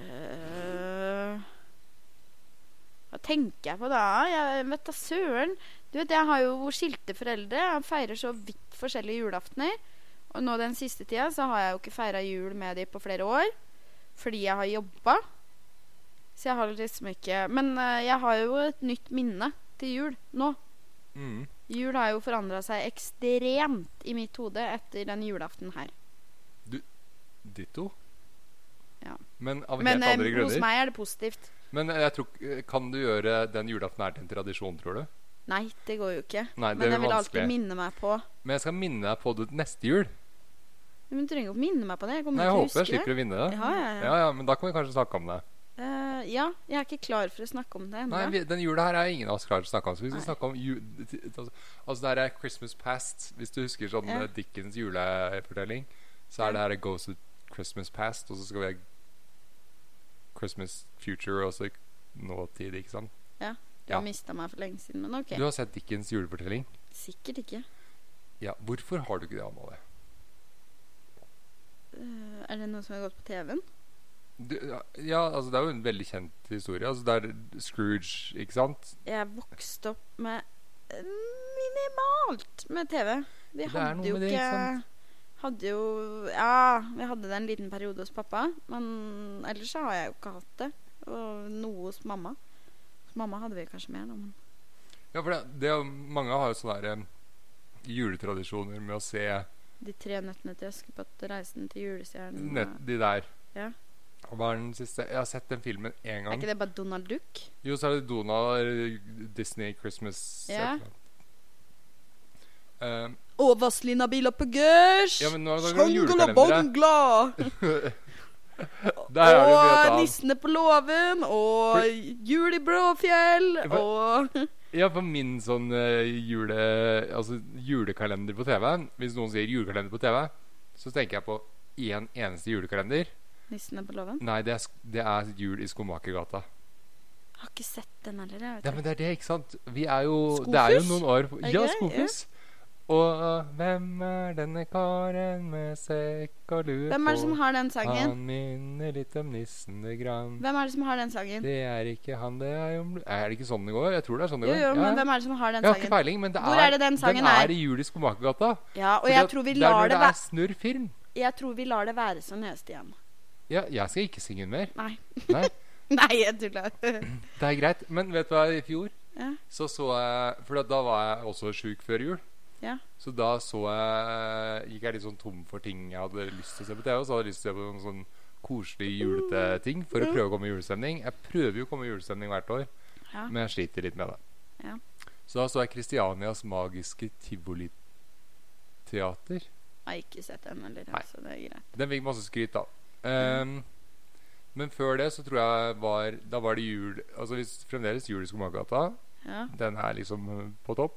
Speaker 1: Eh, Hva tenker jeg på da? Jeg vet da søren. Du vet, Jeg har jo skilte foreldre. Jeg feirer så vidt forskjellige julaftener. Og nå den siste tida så har jeg jo ikke feira jul med de på flere år. Fordi jeg har jobba. Så jeg har liksom ikke Men eh, jeg har jo et nytt minne til jul nå.
Speaker 2: Mm.
Speaker 1: Jul har jo forandra seg ekstremt i mitt hode etter den julaften her.
Speaker 2: Ditto?
Speaker 1: Ja.
Speaker 2: Men av
Speaker 1: Men
Speaker 2: helt andre
Speaker 1: eh, hos
Speaker 2: grunner?
Speaker 1: meg er det positivt.
Speaker 2: Men jeg tror, ikke- kan du gjøre den julaften her til en tradisjon, tror du?
Speaker 1: Nei, det går jo ikke.
Speaker 2: Nei,
Speaker 1: Men
Speaker 2: det blir
Speaker 1: jeg vil
Speaker 2: vanskelig.
Speaker 1: alltid minne meg på
Speaker 2: Men jeg skal minne deg på det neste jul.
Speaker 1: Men du trenger ikke å minne meg på det. Jeg kommer
Speaker 2: Nei, Jeg
Speaker 1: ikke
Speaker 2: håper jeg
Speaker 1: til å huske
Speaker 2: slipper
Speaker 1: det.
Speaker 2: å vinne det.
Speaker 1: Ja, ja, ja.
Speaker 2: Ja, ja, Men da kan vi kanskje snakke om det.
Speaker 1: Eh, eh, ja, jeg er ikke klar for å snakke om det ennå.
Speaker 2: Nei, vi, den jula her er ingen av oss klar til å snakke om. Så vi skal
Speaker 1: Nei.
Speaker 2: snakke om ju, t- t- altså, altså, det her er Christmas Past. Hvis du husker sånn
Speaker 1: Ja.
Speaker 2: eh, Dickens julefortelling, så
Speaker 1: Ja.
Speaker 2: er det her Goes to Christmas Past, og så skal vi ha Christmas Future og så nåtid, ikke sant?
Speaker 1: Jeg
Speaker 2: ja.
Speaker 1: har mista meg for lenge siden, men OK.
Speaker 2: Du har sett Dickens julefortelling?
Speaker 1: Sikkert ikke.
Speaker 2: Ja. Hvorfor har du ikke det, Amalie?
Speaker 1: Eh, er det noe som har gått på TV-en?
Speaker 2: Du, ja, altså, det er jo en veldig kjent historie. Altså, det er Scrooge, ikke sant?
Speaker 1: Jeg vokste opp med eh, minimalt med TV. Vi
Speaker 2: Det er
Speaker 1: hadde
Speaker 2: noe
Speaker 1: jo
Speaker 2: med det,
Speaker 1: ikke
Speaker 2: ikke sant?
Speaker 1: Hadde jo Ja, vi hadde det en liten periode hos pappa, men ellers så har jeg jo ikke hatt det. Og noe hos mamma. Hos mamma hadde vi kanskje mer, da, men
Speaker 2: Ja, for det, det, er jo- mange har jo sånne der, eh, juletradisjoner med å se
Speaker 1: De tre nøttene til Askepott, Reisen til julestjernen
Speaker 2: Nett,
Speaker 1: og-
Speaker 2: de der.
Speaker 1: Mm. Ja.
Speaker 2: Og Hva er den siste? Jeg har sett den filmen én
Speaker 1: Er
Speaker 2: gang.
Speaker 1: ikke det bare Donald Duck?
Speaker 2: Jo, så er det Donald eller Disney Christmas
Speaker 1: Ja.
Speaker 2: et eller annet. Eh,
Speaker 1: Og Vazelina biler på gørs!
Speaker 2: ja, men nå er det noen
Speaker 1: Sjangala
Speaker 2: julekalendere.
Speaker 1: bongla!
Speaker 2: Der er det jo mye
Speaker 1: Og
Speaker 2: annet.
Speaker 1: nissene på låven, og jul i Bråfjell,
Speaker 2: Ja, for-
Speaker 1: og
Speaker 2: Ja, for min sånn eh, jule... Altså julekalender på TV Hvis noen sier julekalender på TV, så tenker jeg på én eneste julekalender.
Speaker 1: Nissene på låven?
Speaker 2: Nei, det er, sk- det er jul i Skomakergata.
Speaker 1: Jeg har ikke sett den heller. Jeg vet
Speaker 2: Ja,
Speaker 1: ikke.
Speaker 2: men det er det, ikke sant? Vi er jo, det er jo
Speaker 1: Skofus?
Speaker 2: noen år på-
Speaker 1: Er det
Speaker 2: Ja,
Speaker 1: ikke det?
Speaker 2: Skofus. Og øh, hvem er denne karen med sekk og lue
Speaker 1: Hvem er det som har den sangen?
Speaker 2: Han minner litt om nissen det grann.
Speaker 1: Hvem er det som har den sangen?
Speaker 2: Det er ikke han, det er jo Er det ikke sånn det går? Jeg tror det er sånn det
Speaker 1: Jo,
Speaker 2: går.
Speaker 1: jo,
Speaker 2: Ja.
Speaker 1: men hvem er det som har den
Speaker 2: jeg har ikke
Speaker 1: sangen?
Speaker 2: peiling, men det er,
Speaker 1: Hvor er det den sangen
Speaker 2: den
Speaker 1: er?
Speaker 2: er i jul i Skomakergata.
Speaker 1: Ja, og
Speaker 2: Fordi
Speaker 1: jeg
Speaker 2: at
Speaker 1: tror vi
Speaker 2: er
Speaker 1: lar
Speaker 2: når
Speaker 1: det
Speaker 2: det
Speaker 1: være
Speaker 2: er snurr film.
Speaker 1: Jeg tror vi lar det være som neste igjen.
Speaker 2: Ja, jeg skal ikke synge den mer.
Speaker 1: Nei.
Speaker 2: Nei.
Speaker 1: Nei, jeg tuller.
Speaker 2: Det er greit. Men vet du hva, i fjor
Speaker 1: Ja.
Speaker 2: så så jeg For da var jeg også sjuk før jul.
Speaker 1: Ja.
Speaker 2: Så da så jeg Gikk jeg litt sånn tom for ting jeg hadde lyst til å se på TV. Og så hadde jeg lyst til å se på noen sånn koselig julete ting for å
Speaker 1: Ja.
Speaker 2: prøve å komme i julestemning. Jeg prøver jo å komme i julestemning hvert år,
Speaker 1: Ja.
Speaker 2: men jeg sliter litt med det.
Speaker 1: Ja.
Speaker 2: Så da så jeg Kristianias magiske tivoliteater.
Speaker 1: Jeg har ikke sett den heller,
Speaker 2: Nei.
Speaker 1: så det er greit.
Speaker 2: Den fikk masse skryt, da.
Speaker 1: Mm.
Speaker 2: Ehm, Men før det så tror jeg var Da var det jul Altså hvis fremdeles jul i Skomakergata.
Speaker 1: Ja,
Speaker 2: Den er liksom eh, på topp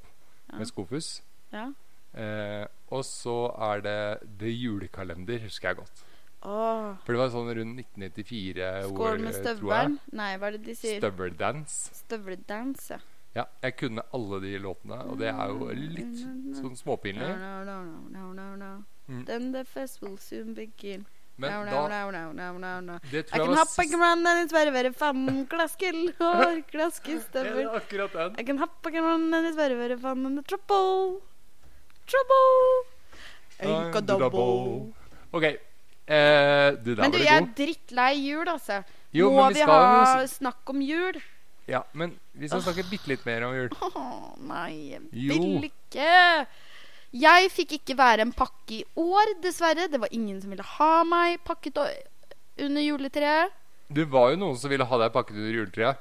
Speaker 1: Ja.
Speaker 2: med Skofus.
Speaker 1: ja.
Speaker 2: Eh, og så er det The Julekalender, husker jeg godt.
Speaker 1: Åh,
Speaker 2: For det var sånn rundt 1994
Speaker 1: skål med
Speaker 2: eh, tror jeg.
Speaker 1: støvelen. Nei, hva er det de sier?
Speaker 2: Støveldance.
Speaker 1: Støveldans, ja.
Speaker 2: Ja, jeg kunne alle de låtene, og det er jo
Speaker 1: Mm.
Speaker 2: litt sånn
Speaker 1: No,
Speaker 2: småpinlig.
Speaker 1: no, no, no, no, no, no.
Speaker 2: Mm.
Speaker 1: Then the fest will soon begin. no,
Speaker 2: Men
Speaker 1: no,
Speaker 2: da
Speaker 1: no, no, no, no, no.
Speaker 2: Det
Speaker 1: I can
Speaker 2: tror jeg var
Speaker 1: hop, I
Speaker 2: sist
Speaker 1: can run, and it's very, very fun. Klaskel, hår, klaskestøvel.
Speaker 2: Ja, Akkurat den.
Speaker 1: I can hop, I can run, and it's very, very fun. And the trouble, trouble. Ain't got double.
Speaker 2: OK. Eh, du, der
Speaker 1: Men du,
Speaker 2: var du
Speaker 1: jeg er
Speaker 2: god.
Speaker 1: drittlei jul, altså.
Speaker 2: Jo,
Speaker 1: Må
Speaker 2: men vi
Speaker 1: vi,
Speaker 2: skal
Speaker 1: ha
Speaker 2: jo
Speaker 1: snakk om jul?
Speaker 2: Ja, men vi skal snakke bitte litt mer om jul.
Speaker 1: Åh, nei, jeg
Speaker 2: Jo.
Speaker 1: vil ikke. Jeg fikk ikke være en pakke i år, dessverre. Det var ingen som ville ha meg pakket o- under juletreet.
Speaker 2: Det var jo noen som ville ha deg pakket under juletreet.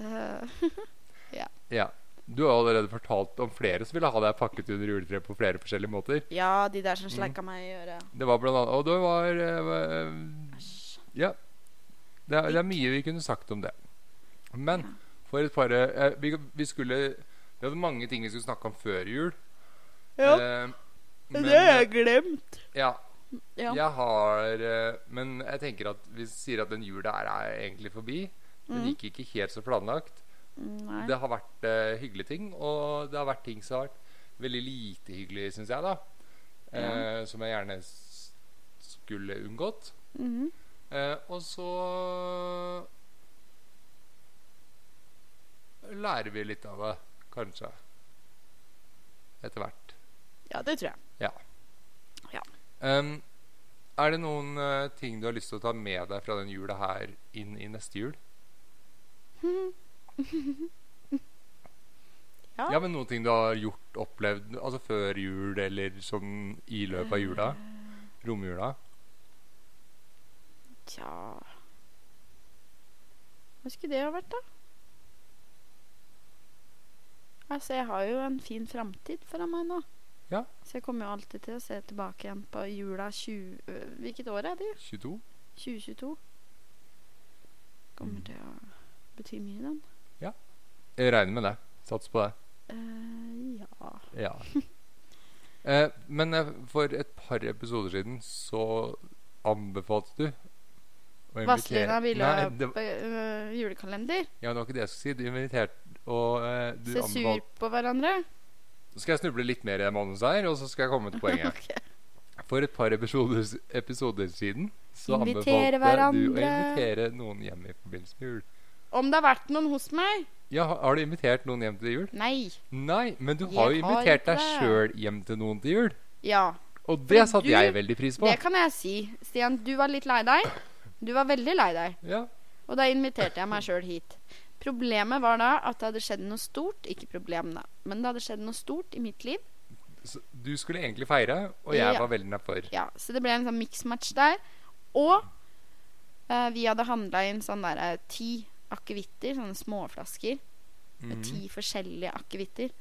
Speaker 1: Eh,
Speaker 2: Ja. Du har allerede fortalt om flere som ville ha deg pakket under juletreet på flere forskjellige måter.
Speaker 1: ja, de der
Speaker 2: Mm.
Speaker 1: som slikka meg i øret.
Speaker 2: Det var blant annet Og det var eh,
Speaker 1: Æsj.
Speaker 2: Ja. Det er, det er mye vi kunne sagt om det. Men for et par eh, vi, vi skulle Vi hadde mange ting vi skulle snakke om før jul. Eh, men, eh,
Speaker 1: glemt.
Speaker 2: Ja.
Speaker 1: Ja.
Speaker 2: Jeg har eh, Men jeg tenker at vi sier at den jula her er egentlig forbi. Den
Speaker 1: Mhm.
Speaker 2: gikk ikke helt så planlagt.
Speaker 1: mm, Nei.
Speaker 2: Det har vært eh, hyggelige ting, og det har vært ting som har vært veldig lite hyggelig, syns jeg, da. Eh, som jeg gjerne s skulle unngått.
Speaker 1: Mhm.
Speaker 2: Eh, og så lærer vi litt av det, kanskje. Etter hvert.
Speaker 1: Ja, det tror jeg.
Speaker 2: Em, er det noen eh, ting du har lyst til å ta med deg fra den jula her inn i neste jul?
Speaker 1: Ja.
Speaker 2: ja, men noen ting du har gjort, opplevd altså før jul eller sånn i løpet av jula? Romjula?
Speaker 1: Tja Hva skulle det ha vært, da? Altså, jeg har jo en fin framtid foran meg nå.
Speaker 2: Ja.
Speaker 1: Så jeg kommer jo alltid til å se tilbake igjen på jula 20... øh, Hvilket år er det?
Speaker 2: 22?
Speaker 1: 2022?
Speaker 2: Mm.
Speaker 1: kommer til å bety mye, den.
Speaker 2: Jeg regner med det. Sats på det.
Speaker 1: Eh, ja.
Speaker 2: Ja. eh, men eh, for et par episoder siden så anbefalte du å
Speaker 1: Vazelina ville
Speaker 2: Nei,
Speaker 1: ha
Speaker 2: det, var-
Speaker 1: øh, julekalender.
Speaker 2: ja, det var ikke det jeg skulle si. Du inviterte og eh, du
Speaker 1: Se sur
Speaker 2: anbefalte
Speaker 1: på hverandre.
Speaker 2: Så skal jeg snuble litt mer i manuset her, og så skal jeg komme til poenget.
Speaker 1: Ok.
Speaker 2: For et par episoder, episoder siden så
Speaker 1: Invitere
Speaker 2: anbefalte du å
Speaker 1: hverandre.
Speaker 2: invitere noen hjem i forbindelse med jul.
Speaker 1: Om det har vært noen hos meg?
Speaker 2: Ja, ha- Har du invitert noen hjem til jul?
Speaker 1: Nei.
Speaker 2: Nei, men du
Speaker 1: Jeg
Speaker 2: har jo
Speaker 1: har
Speaker 2: invitert
Speaker 1: ikke
Speaker 2: deg
Speaker 1: det.
Speaker 2: sjøl hjem til noen til jul.
Speaker 1: Ja.
Speaker 2: Og det
Speaker 1: Fordi
Speaker 2: satte
Speaker 1: du-
Speaker 2: jeg veldig pris på.
Speaker 1: Det kan jeg si. Stian, du var litt lei deg. Du var veldig lei deg.
Speaker 2: Ja,
Speaker 1: Og da inviterte jeg meg sjøl hit. Problemet var da at det hadde skjedd noe stort. Ikke problem, da, men det hadde skjedd noe stort i mitt liv.
Speaker 2: Så du skulle egentlig feire, og jeg
Speaker 1: Ja.
Speaker 2: var veldig nedfor.
Speaker 1: Ja, Så det ble en sånn mix-match der. Og eh, vi hadde handla inn sånn der eh, ti akevitter, sånne småflasker.
Speaker 2: Mhm.
Speaker 1: Med ti forskjellige akevitter.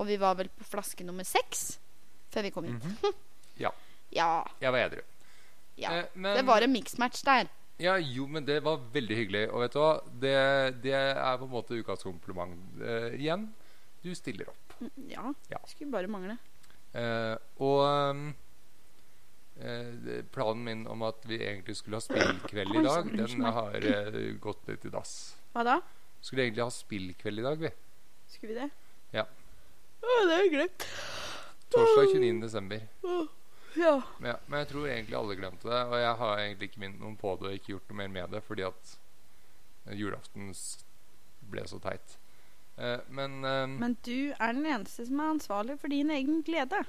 Speaker 1: Og vi var vel på flaske nummer seks før vi kom
Speaker 2: Mm.
Speaker 1: hit.
Speaker 2: Ja.
Speaker 1: Ja.
Speaker 2: Mhm. Jeg var edru.
Speaker 1: ja.
Speaker 2: Eh, men,
Speaker 1: Det var en mix-match der.
Speaker 2: ja, jo, men det var veldig hyggelig. Og vet du hva? Det, det er på en måte ukas kompliment eh, igjen. Du stiller opp.
Speaker 1: Mm, Ja.
Speaker 2: Ja.
Speaker 1: Skulle bare mangle.
Speaker 2: Eh, og ehm, eh, det- planen min om at vi egentlig skulle ha spillkveld i
Speaker 1: Oi,
Speaker 2: dag,
Speaker 1: sorry, unnskyld
Speaker 2: den
Speaker 1: meg.
Speaker 2: har eh, gått litt i dass.
Speaker 1: Hva da?
Speaker 2: Skulle egentlig ha spillkveld i dag, vi.
Speaker 1: Skulle vi det?
Speaker 2: Ja.
Speaker 1: Å, det har jeg glemt.
Speaker 2: Torsdag
Speaker 1: Mm.
Speaker 2: 29. desember.
Speaker 1: Å, Ja.
Speaker 2: Ja, men jeg tror egentlig alle glemte det, og jeg har egentlig ikke minnet noen på det og ikke gjort noe mer med det, fordi at eh, julaften s- ble så teit. Eh, men, eh,
Speaker 1: Men du er den eneste som er ansvarlig for din egen glede.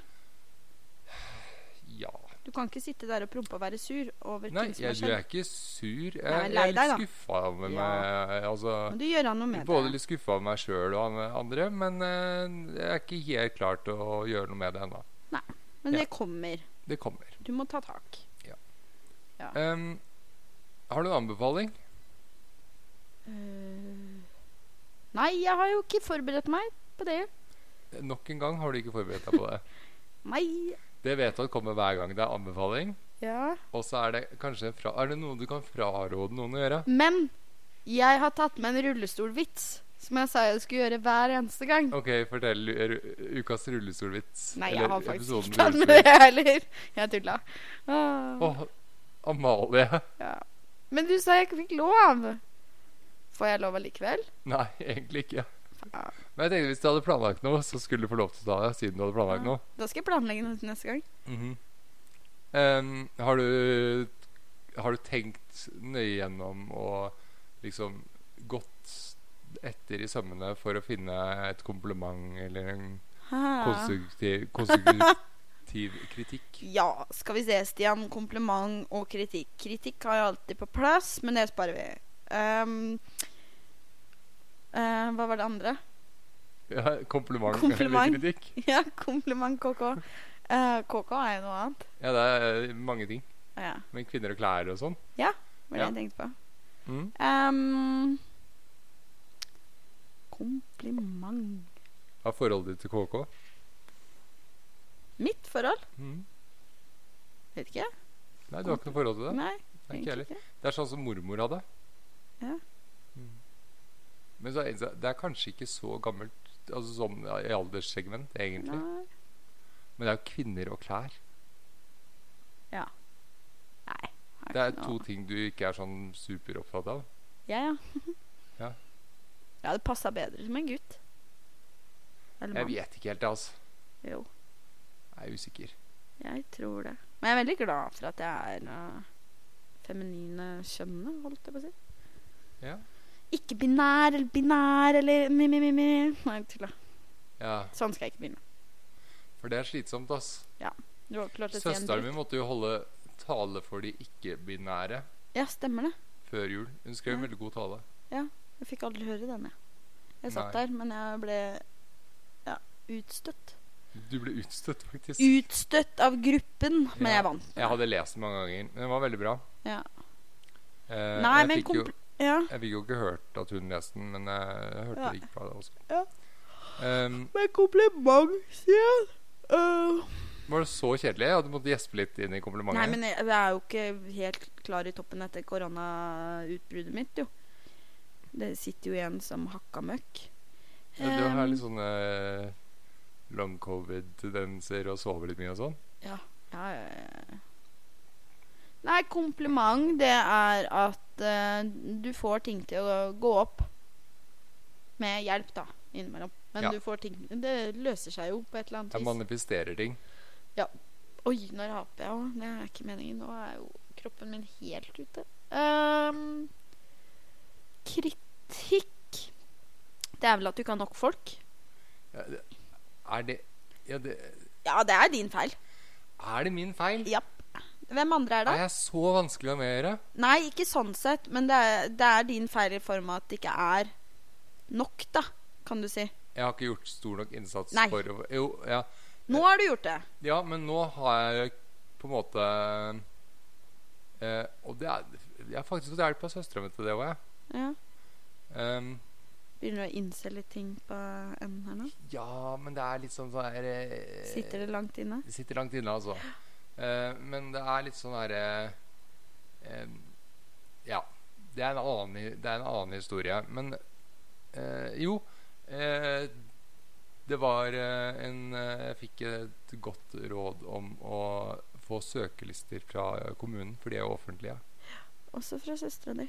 Speaker 2: ja.
Speaker 1: Du kan ikke sitte der og prompe og være sur over
Speaker 2: Nei,
Speaker 1: ting som har
Speaker 2: jeg, du er
Speaker 1: skjedd.
Speaker 2: ikke sur. Jeg,
Speaker 1: Nei, men
Speaker 2: jeg
Speaker 1: lei
Speaker 2: er
Speaker 1: deg, da.
Speaker 2: litt skuffa over
Speaker 1: Ja.
Speaker 2: meg.
Speaker 1: Men sånn
Speaker 2: Altså,
Speaker 1: du gjør noe med
Speaker 2: både
Speaker 1: det.
Speaker 2: litt skuffa over meg sjøl og an- andre, men eh, jeg er ikke helt klar til å gjøre noe med det ennå.
Speaker 1: Men
Speaker 2: Ja.
Speaker 1: det kommer.
Speaker 2: Det kommer.
Speaker 1: Du må ta tak.
Speaker 2: Em, har du en anbefaling?
Speaker 1: Eh, Nei, jeg har jo ikke forberedt meg på det.
Speaker 2: Nok en gang har du ikke forberedt deg på det.
Speaker 1: Nei.
Speaker 2: Det vet du at kommer hver gang det er anbefaling.
Speaker 1: Ja.
Speaker 2: Og så er det kanskje fra, Er det noe du kan fraråde noen å gjøre?
Speaker 1: Men jeg har tatt med en rullestolvits, som jeg sa jeg skulle gjøre hver eneste gang.
Speaker 2: OK, fortell u- ru- ukas rullestolvits.
Speaker 1: Nei, jeg
Speaker 2: Eller
Speaker 1: har faktisk
Speaker 2: episoden
Speaker 1: ikke
Speaker 2: med
Speaker 1: tatt med det,
Speaker 2: rullestol.
Speaker 1: jeg heller. Jeg tulla. Åh.
Speaker 2: Åh, Amalie.
Speaker 1: Ja. Men du sa jeg ikke fikk lov. Får jeg lov allikevel?
Speaker 2: Nei, egentlig ikke.
Speaker 1: Faen.
Speaker 2: Men jeg tenkte hvis du hadde planlagt noe, så skulle du få lov til å ta det. Siden du hadde planlagt
Speaker 1: Ja.
Speaker 2: noe
Speaker 1: Da skal jeg planlegge noe til neste gang.
Speaker 2: Mhm. Em, Ehm, Har du Har du tenkt nøye gjennom og liksom gått etter i sømmene for å finne et kompliment eller en konstruktiv, konstruktiv kritikk?
Speaker 1: Ja, skal vi se, Stian. Kompliment og kritikk. Kritikk har jeg alltid på plass, men det sparer vi. Ehm, eh, hva var det andre?
Speaker 2: Ja, kompliment,
Speaker 1: Kompliment.
Speaker 2: eller kritikk.
Speaker 1: Ja, kompliment KK. Eh, KK er jo noe annet.
Speaker 2: Ja, det er eh, mange ting.
Speaker 1: Ja,
Speaker 2: Men kvinner og klær og sånn.
Speaker 1: hva var det
Speaker 2: Ja.
Speaker 1: jeg tenkte på?
Speaker 2: Mm.
Speaker 1: Ehm, kompliment
Speaker 2: Har forholdet ditt til KK.
Speaker 1: Mitt forhold?
Speaker 2: Mm.
Speaker 1: Vet ikke.
Speaker 2: Nei, du har ikke noe forhold til det?
Speaker 1: Nei,
Speaker 2: Nei, ikke
Speaker 1: egentlig
Speaker 2: heller.
Speaker 1: ikke.
Speaker 2: Det er sånn som mormor hadde.
Speaker 1: Ja.
Speaker 2: Mm. Men så er det, det er kanskje ikke så gammelt altså sånn i alderssegment, egentlig.
Speaker 1: Nei.
Speaker 2: Men det er jo kvinner og klær.
Speaker 1: Nei. har
Speaker 2: Det er
Speaker 1: ikke noe-
Speaker 2: to ting du ikke er sånn superopptatt av.
Speaker 1: Ja, ja.
Speaker 2: Ja.
Speaker 1: Jeg hadde passa bedre som en gutt. Eller
Speaker 2: Jeg
Speaker 1: mann.
Speaker 2: vet ikke helt, altså.
Speaker 1: Jo,
Speaker 2: Jeg er usikker.
Speaker 1: jeg tror det. Men jeg er veldig glad for at jeg er uh, feminine kjønnet, holdt jeg på å si.
Speaker 2: Ja.
Speaker 1: Ikke binær eller binær eller mi-mi-mi. Nei, jeg tulla.
Speaker 2: Ja,
Speaker 1: Sånn skal jeg ikke begynne.
Speaker 2: For det er slitsomt, ass.
Speaker 1: Du har ikke klart å si en
Speaker 2: Søsteren
Speaker 1: dritt.
Speaker 2: min måtte jo holde tale for de ikke-binære
Speaker 1: Ja, stemmer det.
Speaker 2: før jul. Hun skrev en veldig god tale.
Speaker 1: Jeg fikk aldri høre den, jeg. Jeg satt
Speaker 2: Nei.
Speaker 1: der, men jeg ble ja, utstøtt.
Speaker 2: Du ble utstøtt, faktisk.
Speaker 1: Utstøtt av gruppen, men
Speaker 2: Ja.
Speaker 1: jeg vant.
Speaker 2: Jeg hadde lest den mange ganger. men Den var veldig bra.
Speaker 1: Ja.
Speaker 2: Eh,
Speaker 1: Nei,
Speaker 2: jeg
Speaker 1: men
Speaker 2: fikk jo-
Speaker 1: kompl... Ja.
Speaker 2: Jeg fikk jo ikke hørt at hun leste den, men jeg, jeg hørte
Speaker 1: Ja.
Speaker 2: det ikke fra deg også.
Speaker 1: Ja.
Speaker 2: Ehm,
Speaker 1: Men kompliment, Stian. Uh,
Speaker 2: var det så kjedelig at du måtte gjespe litt inn i komplimentet?
Speaker 1: Nei, men jeg jeg er jo ikke helt klar i toppen etter koronautbruddet mitt, jo. Det sitter jo igjen som hakka møkk.
Speaker 2: Ja, du har
Speaker 1: Ehm,
Speaker 2: litt sånne eh, long covid-tendenser og sover litt mye og sånn.
Speaker 1: Ja, ja, ja. Nei, kompliment, det er at eh, du får ting til å gå opp. Med hjelp, da, innimellom. Men
Speaker 2: Ja.
Speaker 1: du får ting Det løser seg jo på et eller annet
Speaker 2: Jeg
Speaker 1: vis.
Speaker 2: manifesterer ting.
Speaker 1: Oi, når haper jeg òg. Det er ikke meningen. Nå er jo kroppen min helt ute. Ehm, kritikk Det er vel at du ikke har nok folk?
Speaker 2: Ja, det- Er det, ja, det
Speaker 1: Ja, det er din feil.
Speaker 2: Er det min feil?
Speaker 1: Japp. Hvem andre er det?
Speaker 2: Er jeg så vanskelig å ha med å gjøre?
Speaker 1: Nei, ikke sånn sett, men det er, det er din feil i form av at det ikke er nok, da, kan du si.
Speaker 2: Jeg har ikke gjort stor nok innsats
Speaker 1: Nei.
Speaker 2: for å Jo, ja.
Speaker 1: Nå har du gjort det.
Speaker 2: Ja, men nå har jeg på en måte eh, Og det er Jeg har faktisk fått hjelp av søstera mi til det òg, jeg.
Speaker 1: Ja.
Speaker 2: Ehm,
Speaker 1: Begynner du å innse litt ting på enden her nå?
Speaker 2: ja, men det er litt sånn sånn her eh,
Speaker 1: Sitter det langt inne?
Speaker 2: Det sitter langt inne, altså. Eh, men det er litt sånn herre Ja. Det er, en annen, det er en annen historie. Men eh, jo eh, Det var eh, en eh, Jeg fikk et godt råd om å få søkelister fra kommunen, for de er jo offentlige.
Speaker 1: Også fra søstera di.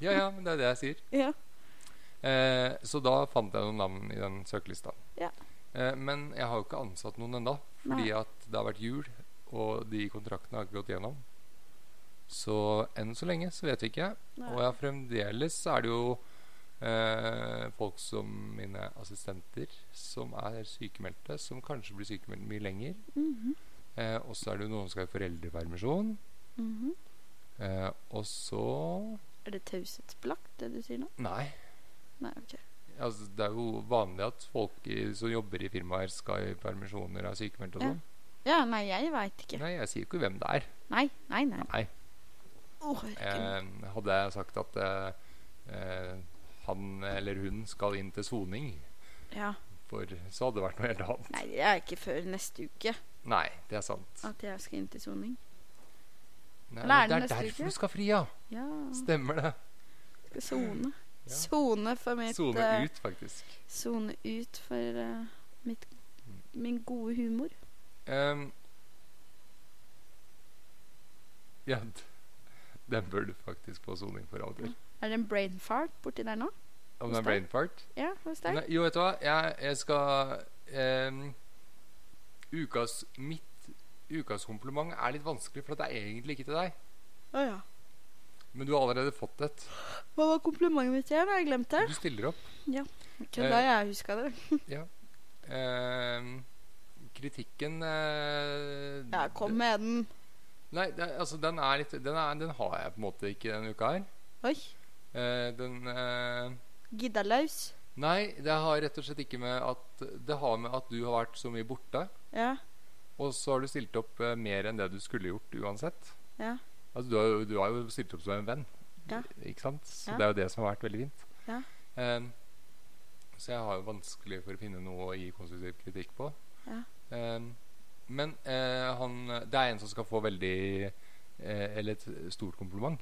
Speaker 2: Ja, ja, men det er det jeg sier.
Speaker 1: Ja.
Speaker 2: Eh, så da fant jeg noen navn i den søkelista.
Speaker 1: Ja.
Speaker 2: Eh, men jeg har jo ikke ansatt noen ennå, fordi
Speaker 1: Nei.
Speaker 2: at det har vært jul, og de kontraktene har ikke gått gjennom. Så enn så lenge så vet vi ikke. Og jeg har fremdeles så er det jo eh, folk som mine assistenter som er sykemeldte, som kanskje blir sykemeldt mye lenger.
Speaker 1: Mhm,
Speaker 2: Eh, og så er det jo noen som skal i foreldrepermisjon.
Speaker 1: mhm.
Speaker 2: Eh, og så
Speaker 1: Er det taushetsbelagt, det du sier nå?
Speaker 2: Nei.
Speaker 1: Nei, ok.
Speaker 2: Altså, det er jo vanlig at folk i, som jobber i firmaer, skal i permisjoner og er sykemeldt og
Speaker 1: Ja.
Speaker 2: sånn.
Speaker 1: Ja, nei, jeg veit ikke.
Speaker 2: Nei, jeg sier ikke hvem det er.
Speaker 1: Nei, nei, nei.
Speaker 2: Nei.
Speaker 1: Å, herregud.
Speaker 2: Eh, hadde jeg sagt at eh, eh, han eller hun skal inn til soning,
Speaker 1: ja.
Speaker 2: for så hadde det vært noe helt annet.
Speaker 1: Nei, det er ikke før neste uke
Speaker 2: Nei, det er sant.
Speaker 1: at jeg skal inn til soning.
Speaker 2: Nei,
Speaker 1: Eller er
Speaker 2: det
Speaker 1: det
Speaker 2: er
Speaker 1: neste uke?
Speaker 2: derfor du skal fri, ja.
Speaker 1: Ja.
Speaker 2: Stemmer det.
Speaker 1: Skal sone.
Speaker 2: Ja.
Speaker 1: Sone for mitt
Speaker 2: Sone
Speaker 1: eh,
Speaker 2: ut, faktisk.
Speaker 1: sone ut for eh, mitt, min gode humor.
Speaker 2: Um, ja, d- den bør du faktisk få soning for av og til.
Speaker 1: Er det en brain fart borti der nå?
Speaker 2: Om det
Speaker 1: Hos deg?
Speaker 2: er brain fart.
Speaker 1: Ja, hos deg?
Speaker 2: Nei, jo, vet du hva? Jeg, jeg skal ehm, Ukas mitt Ukas kompliment er litt vanskelig, for det er egentlig ikke til deg.
Speaker 1: Å ja.
Speaker 2: Men du har allerede fått et.
Speaker 1: Hva var komplimentet mitt igjen? Har jeg glemt det?
Speaker 2: Du stiller opp.
Speaker 1: Kødda, jeg huska det.
Speaker 2: Ehm, kritikken eh,
Speaker 1: Ja, kom med den.
Speaker 2: Nei, det, er- altså, den er litt den, er, den har jeg på en måte ikke denne uka her.
Speaker 1: Oi.
Speaker 2: Eh, den eh,
Speaker 1: Gidda løs.
Speaker 2: Nei, det har rett og slett ikke med at Det har med at du har vært så mye borte,
Speaker 1: Ja.
Speaker 2: og så har du stilt opp eh, mer enn det du skulle gjort uansett.
Speaker 1: Ja.
Speaker 2: Altså, du, har jo, du har jo stilt opp som en venn,
Speaker 1: Ja.
Speaker 2: ikke sant? Så
Speaker 1: Ja.
Speaker 2: det er jo det som har vært veldig fint.
Speaker 1: Ja.
Speaker 2: Em, så jeg har jo vanskelig for å finne noe å gi konstruktiv kritikk på.
Speaker 1: Ja.
Speaker 2: Em, men eh, han, det er en som skal få veldig eh, Eller et stort kompliment.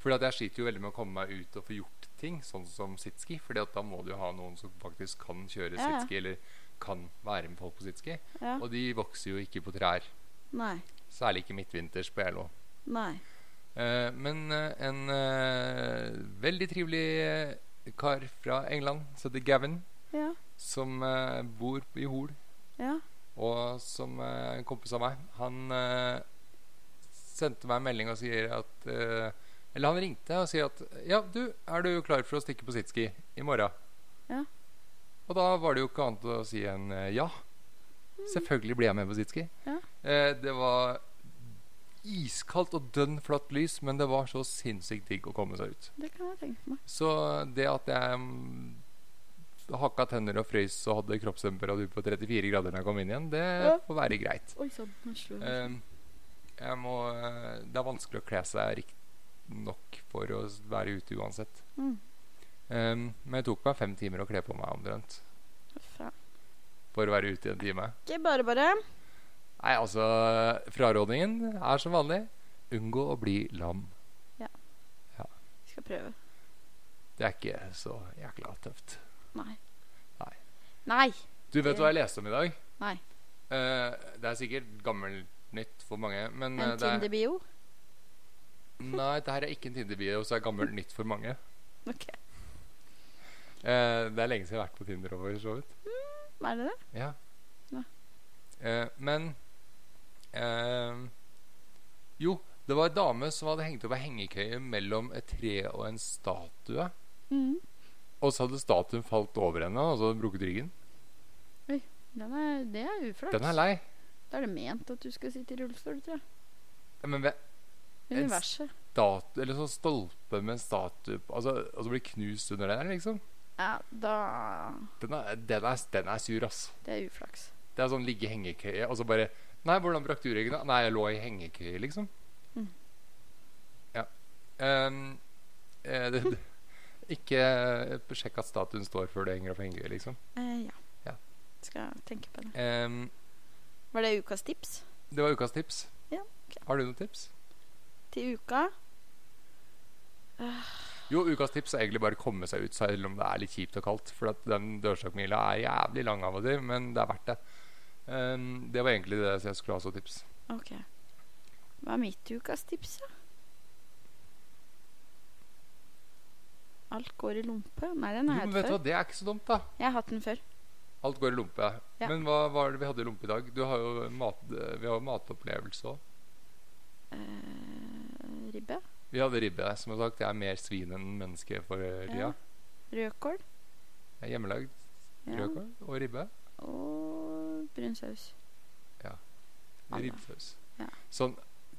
Speaker 2: Fordi at jeg sliter jo veldig med å komme meg ut og få gjort ting, sånn som sitski. Fordi at da må du jo ha noen som faktisk kan kjøre
Speaker 1: Ja, ja.
Speaker 2: sitski, eller kan være med folk på sitski.
Speaker 1: ja.
Speaker 2: Og de vokser jo ikke på trær.
Speaker 1: Nei.
Speaker 2: Særlig ikke midtvinters på Elo.
Speaker 1: Nei.
Speaker 2: Eh, men eh, en eh, veldig trivelig eh, kar fra England, som heter Gavin,
Speaker 1: Ja.
Speaker 2: som eh, bor i Hol,
Speaker 1: Ja.
Speaker 2: og som eh, en kompis av meg, han eh, sendte meg en melding og sier at eh, Eller han ringte og sier at Ja, du, er du klar for å stikke på sitski i morgen?
Speaker 1: Ja.
Speaker 2: Og da var det jo ikke annet å si enn eh, ja. Selvfølgelig blir jeg med på sitski.
Speaker 1: Mm. Ja.
Speaker 2: Eh, det var iskaldt og dønn flatt lys, men det var så sinnssykt digg å komme seg ut.
Speaker 1: Det kan jeg tenke meg.
Speaker 2: Så det at jeg mm, hakka tenner og frøys og hadde kroppstemperatur på 34 grader da jeg kom inn igjen, det
Speaker 1: Ja.
Speaker 2: får være greit.
Speaker 1: Oi sann. nå slo jeg meg.
Speaker 2: Eh, jeg må, eh, det er vanskelig å kle seg rikt nok for å s- være ute uansett.
Speaker 1: Mm.
Speaker 2: Eh, men det tok meg fem timer å kle på meg omtrent
Speaker 1: Faen.
Speaker 2: for å være ute i en time.
Speaker 1: Ikke bare, bare.
Speaker 2: Nei, altså Frarådingen er som vanlig unngå å bli lam.
Speaker 1: Skal prøve.
Speaker 2: Det er ikke så jækla tøft.
Speaker 1: Nei.
Speaker 2: Nei.
Speaker 1: Nei.
Speaker 2: Du vet
Speaker 1: Det-
Speaker 2: hva jeg leste om i dag?
Speaker 1: Nei.
Speaker 2: Eh, det er sikkert gammelt nytt for mange, men eh,
Speaker 1: En
Speaker 2: det er,
Speaker 1: Tinder-bio.
Speaker 2: Nei, det her er ikke en Tinder-bio, så det er gammelt nytt for mange.
Speaker 1: Ok.
Speaker 2: Eh, det er lenge siden jeg har vært på Tinder. Over, så vidt.
Speaker 1: Er det det?
Speaker 2: Ja.
Speaker 1: Ja.
Speaker 2: Eh, men eh, Jo, det var ei dame som hadde hengt opp ei hengekøye mellom et tre og en statue.
Speaker 1: Mm.
Speaker 2: Og så hadde statuen falt over henne, og så hadde hun brukket ryggen.
Speaker 1: Den er, det er uflaks.
Speaker 2: Den er lei.
Speaker 1: Da er det ment at du skal sitte i rullestol, tror jeg.
Speaker 2: Men ved
Speaker 1: Universet.
Speaker 2: statu, eller sånn stolpe med en statue på- altså, Og så blir knust under den, liksom.
Speaker 1: Ja, da
Speaker 2: Den er, den er, den er sur, ass.
Speaker 1: Det er uflaks.
Speaker 2: Det er sånn ligge i hengekøye, og så bare Nei, hvordan brakk du ryggen? da? Nei, jeg lå i hengekøye, liksom.
Speaker 1: Mm.
Speaker 2: Ja. Ehm, eh, det, det, ikke eh, sjekk at statuen står før du henger opp hengekøye, liksom.
Speaker 1: Eh, ja.
Speaker 2: Ja.
Speaker 1: Skal jeg tenke på det.
Speaker 2: Ehm,
Speaker 1: Var det ukas tips
Speaker 2: det var ukas tips.
Speaker 1: Ja, ok.
Speaker 2: Har du noen tips?
Speaker 1: til uka?
Speaker 2: Jo, ukas tips er egentlig bare å komme seg ut, selv om det er litt kjipt og kaldt. For at den dørstokkmila er jævlig lang av og til, men det er verdt det. Ehm, det var egentlig det jeg skulle ha som tips.
Speaker 1: Ok. Hva er mitt ukas tips, da? Alt går i lompe? Nei, den
Speaker 2: Jo,
Speaker 1: har
Speaker 2: men
Speaker 1: jeg hatt
Speaker 2: vet du
Speaker 1: før.
Speaker 2: hva, det er ikke så dumt, da.
Speaker 1: Jeg har hatt den før.
Speaker 2: Alt går i lompe.
Speaker 1: Ja.
Speaker 2: Men hva var det vi hadde i lompe i dag? Du har jo mat, vi har jo matopplevelse òg.
Speaker 1: Eh, ribbe.
Speaker 2: Vi hadde ribbe. Som jeg har sagt, jeg er mer svin enn menneske for tida.
Speaker 1: Ja. Rødkål.
Speaker 2: Jeg er Hjemmelagd
Speaker 1: Ja.
Speaker 2: rødkål og ribbe.
Speaker 1: Og brun saus. Ja, da.
Speaker 2: Ribbesaus.
Speaker 1: Ja.
Speaker 2: Sånn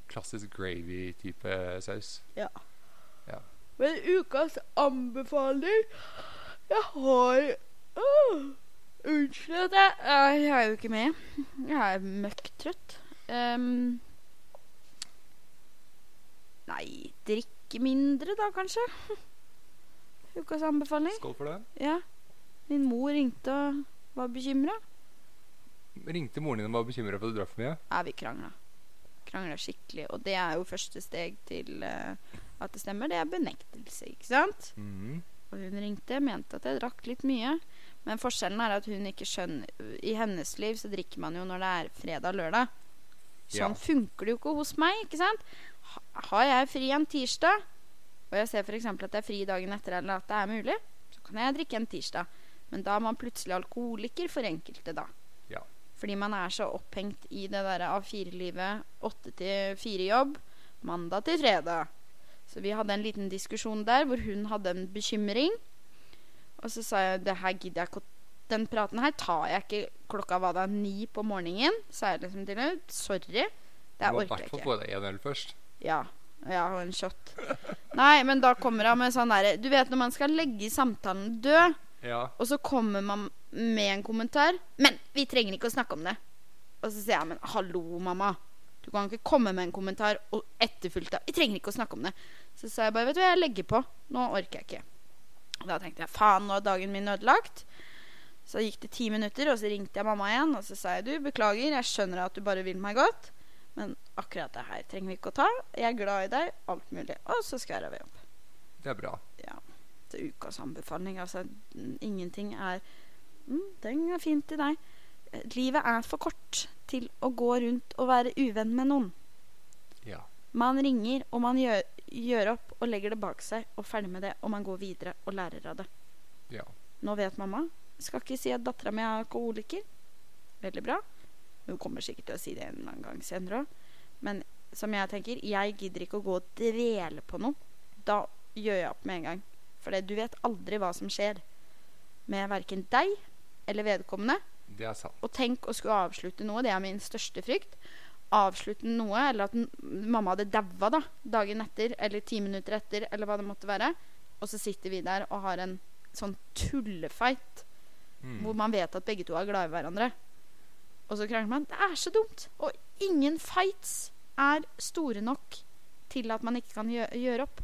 Speaker 2: klassisk gravy-type saus.
Speaker 1: Men ukas anbefaling Jeg har Åh, Unnskyld at jeg Nei, Jeg er jo ikke med. Jeg er møkktrøtt. Ehm, nei, drikke mindre da, kanskje. Ukas anbefaling.
Speaker 2: Skål for det.
Speaker 1: Ja. Min mor ringte og var bekymra.
Speaker 2: Ringte moren din og var bekymra for at du drakk for mye?
Speaker 1: Nei, vi krangla. Krangla skikkelig. Og det er jo første steg til eh, at det stemmer. Det er benektelse, ikke sant?
Speaker 2: Mhm.
Speaker 1: Og hun ringte, mente at jeg drakk litt mye. Men forskjellen er at hun ikke skjønner I hennes liv så drikker man jo når det er fredag-lørdag.
Speaker 2: Ja.
Speaker 1: Sånn funker det jo ikke hos meg, ikke sant? Ha- Har jeg fri en tirsdag, og jeg ser f.eks. at det er fri dagen etter, eller at det er mulig, så kan jeg drikke en tirsdag. Men da er man plutselig alkoholiker for enkelte, da.
Speaker 2: Ja.
Speaker 1: Fordi man er så opphengt i det derre A4-livet, åtte til fire-jobb, mandag til fredag. Så vi hadde en liten diskusjon der hvor hun hadde en bekymring. Og så sa jeg det her gidder jeg ikke å Den praten her tar jeg ikke klokka var da ni på morgenen. Sa jeg liksom til henne. Sorry. Det
Speaker 2: Du må
Speaker 1: orker
Speaker 2: i hvert
Speaker 1: jeg
Speaker 2: fall
Speaker 1: ikke.
Speaker 2: få deg en øl først.
Speaker 1: Ja. Ja, og en shot. Nei, men da kommer han med sånn derre Du vet når man skal legge samtalen død,
Speaker 2: Ja.
Speaker 1: og så kommer man med en kommentar 'Men vi trenger ikke å snakke om det.' Og så sier jeg 'Men hallo, mamma'. Du kan ikke komme med en kommentar og etterfulgt av 'Vi trenger ikke å snakke om det'. Så sa jeg bare 'Vet du hva, jeg legger på. Nå orker jeg ikke'. Og Da tenkte jeg 'Faen, nå er dagen min ødelagt'. Så gikk det ti minutter, og så ringte jeg mamma igjen. Og så sa jeg 'Du, beklager, jeg skjønner at du bare vil meg godt', men akkurat det her trenger vi ikke å ta. Jeg er glad i deg, alt mulig. Og så skæra vi opp
Speaker 2: Det er bra.
Speaker 1: til ukas anbefaling. Altså, n- ingenting er mm, Den er fin til deg. Eh, Livet er for kort til å gå rundt og være uvenn med noen.
Speaker 2: Ja.
Speaker 1: Man ringer, og man gjør, gjør opp og legger det bak seg og ferdig med det, og man går videre og lærer av det.
Speaker 2: Ja.
Speaker 1: Nå vet mamma. Skal ikke si at dattera mi er alkoholiker. Veldig bra. Hun kommer sikkert til å si det en eller annen gang senere òg. Men som jeg tenker, jeg gidder ikke å gå og dvele på noe. Da gjør jeg opp med en gang. For det- du vet aldri hva som skjer med verken deg eller vedkommende.
Speaker 2: Det er sant.
Speaker 1: Og tenk å skulle avslutte noe. Det er min største frykt. Avslutte noe, eller at n mamma hadde daua da, dagen etter, eller ti minutter etter, eller hva det måtte være. Og så sitter vi der og har en sånn tullefeit
Speaker 2: Mm.
Speaker 1: hvor man vet at begge to er glad i hverandre. Og så krangler man. Det er så dumt! Og ingen fights er store nok til at man ikke kan gjø gjøre opp.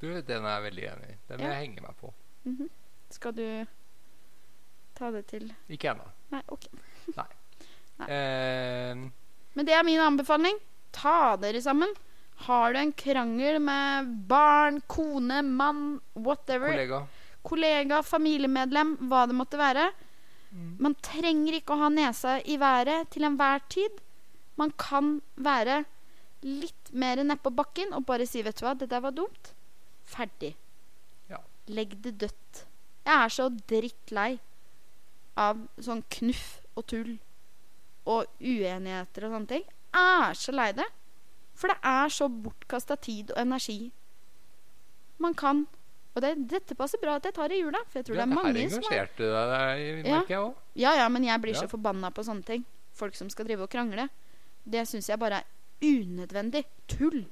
Speaker 2: Du, den er jeg veldig enig i. Den vil
Speaker 1: Ja.
Speaker 2: jeg henge meg på.
Speaker 1: Mhm. Skal du ta det til
Speaker 2: Ikke ennå. Eh,
Speaker 1: Nei, OK.
Speaker 2: Ehm,
Speaker 1: Men det er min anbefaling. Ta dere sammen. Har du en krangel med barn, kone, mann, whatever, kollega,
Speaker 2: Kollega.
Speaker 1: familiemedlem, hva det måtte være Man trenger ikke å ha nesa i været til enhver tid. Man kan være litt mer nedpå bakken og bare si 'vet du hva, det der var dumt'. Ferdig.
Speaker 2: Ja.
Speaker 1: Legg det dødt. Jeg er så drittlei av sånn knuff og tull og uenigheter og sånne ting. Jeg er så lei det. For det er så bortkasta tid og energi. Man kan Og det, dette passer bra at jeg tar i jula, for jeg tror
Speaker 2: Ja,
Speaker 1: det er mange
Speaker 2: her
Speaker 1: som har
Speaker 2: engasjerte deg der,
Speaker 1: Ja.
Speaker 2: merker jeg òg.
Speaker 1: ja, ja, men jeg blir
Speaker 2: Ja.
Speaker 1: så forbanna på sånne ting. Folk som skal drive og krangle. Det syns jeg bare er unødvendig tull.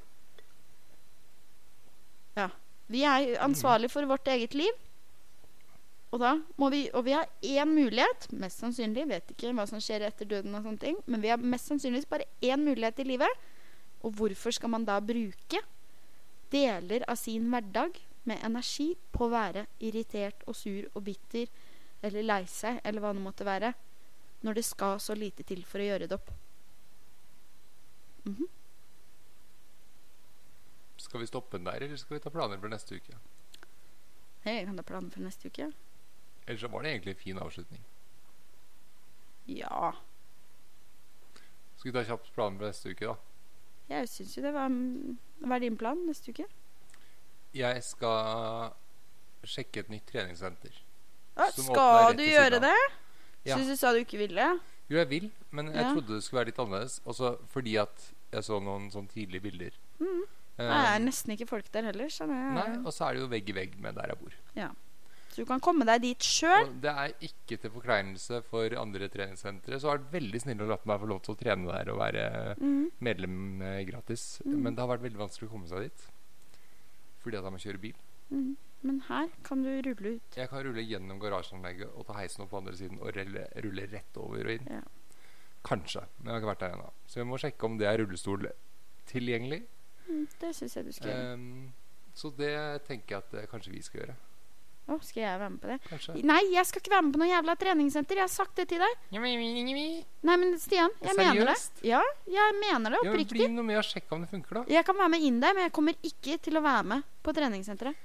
Speaker 1: Ja. Vi er ansvarlig for vårt eget liv. Og, da må vi, og vi har én mulighet, mest sannsynlig, vet ikke hva som skjer etter døden, og sånne ting, men vi har mest sannsynligvis bare én mulighet i livet. Og hvorfor skal man da bruke deler av sin hverdag med energi på å være irritert og sur og bitter eller lei seg, eller hva det måtte være, når det skal så lite til for å gjøre det opp.
Speaker 2: Skal vi stoppe den der, eller skal vi ta planer for neste uke?
Speaker 1: Jeg kan da plane for neste uke.
Speaker 2: Ellers så var det egentlig en fin avslutning.
Speaker 1: Ja.
Speaker 2: Skal vi ta kjapt planer for neste uke, da?
Speaker 1: Jeg syns jo det var Hva er din plan neste uke?
Speaker 2: Jeg skal sjekke et nytt treningssenter.
Speaker 1: Å,
Speaker 2: Som åpner
Speaker 1: skal
Speaker 2: rett
Speaker 1: du
Speaker 2: ved
Speaker 1: gjøre
Speaker 2: siden av.
Speaker 1: det?
Speaker 2: Ja.
Speaker 1: Syns du sa du ikke ville?
Speaker 2: Jo, jeg vil, men jeg
Speaker 1: Ja.
Speaker 2: trodde det skulle være litt annerledes. Også fordi at jeg så noen sånn tidlige bilder. Eh,
Speaker 1: Mm. Det er nesten ikke folk der heller, skjønner
Speaker 2: nei,
Speaker 1: jeg.
Speaker 2: og så er det jo vegg i vegg med der jeg bor.
Speaker 1: Så du kan komme deg dit sjøl.
Speaker 2: Og det er ikke til forkleinelse for andre treningssentre. Så har det vært veldig snille og latt meg få lov til å trene der og være
Speaker 1: Mm.
Speaker 2: medlem eh, gratis.
Speaker 1: Mm.
Speaker 2: Men det har vært veldig vanskelig å komme seg dit. Fordi at jeg må kjøre bil.
Speaker 1: Mm. Men her kan du rulle ut.
Speaker 2: Jeg kan rulle gjennom garasjeanlegget og ta heisen opp på andre siden og rulle, rulle rett over og inn.
Speaker 1: Ja.
Speaker 2: Kanskje, men jeg har ikke vært der ennå. Så vi må sjekke om det er rullestol tilgjengelig.
Speaker 1: Mm, det syns jeg du skal gjøre.
Speaker 2: Ehm, så det tenker jeg at eh, kanskje vi skal gjøre. Eh.
Speaker 1: Å, skal jeg være med på det?
Speaker 2: Kanskje.
Speaker 1: Nei, jeg skal ikke være med på noe jævla treningssenter. Jeg har sagt det til deg. Nei, men Stian, jeg mener det.
Speaker 2: Seriøst?
Speaker 1: Ja, jeg mener det
Speaker 2: Ja, men
Speaker 1: oppriktig.
Speaker 2: bli noe med og sjekke om det funker, da.
Speaker 1: Jeg kan være med inn der, men jeg kommer ikke til å være med på treningssenteret.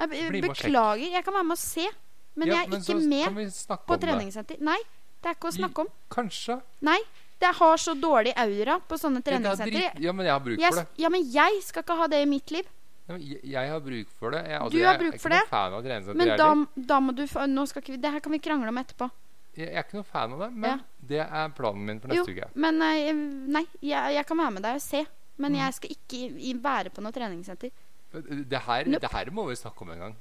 Speaker 1: Jeg be-
Speaker 2: Bli med og sjekk.
Speaker 1: beklager. Jeg kan være med og se, men
Speaker 2: Ja,
Speaker 1: jeg er
Speaker 2: men
Speaker 1: ikke
Speaker 2: så kan
Speaker 1: med
Speaker 2: vi snakke
Speaker 1: på
Speaker 2: om det.
Speaker 1: treningssenter. Nei, det er ikke å
Speaker 2: Vi-
Speaker 1: snakke om.
Speaker 2: Kanskje.
Speaker 1: Nei, det har så dårlig aura på sånne
Speaker 2: Ja, det er
Speaker 1: treningssenter.
Speaker 2: drit- Ja, men jeg har bruk
Speaker 1: Jeg
Speaker 2: for det.
Speaker 1: s- ja, men jeg skal ikke ha det i mitt liv.
Speaker 2: Ja, men Jeg, jeg har bruk for det. Jeg, altså,
Speaker 1: Du har
Speaker 2: jeg
Speaker 1: bruk
Speaker 2: er
Speaker 1: for
Speaker 2: ikke
Speaker 1: det,
Speaker 2: noen fan av treningssenter,
Speaker 1: Men
Speaker 2: jeg
Speaker 1: da,
Speaker 2: heller.
Speaker 1: da må du få Nå skal ikke vi Det her kan vi krangle om etterpå.
Speaker 2: Jeg, jeg er ikke noen fan av det, men det er planen min for
Speaker 1: Jo,
Speaker 2: neste uke.
Speaker 1: men eh, Nei, jeg, jeg kan være med deg og se. Men
Speaker 2: Mm.
Speaker 1: jeg skal ikke i- i- være på noe treningssenter.
Speaker 2: Det her,
Speaker 1: Nope.
Speaker 2: det her må vi snakke om en gang.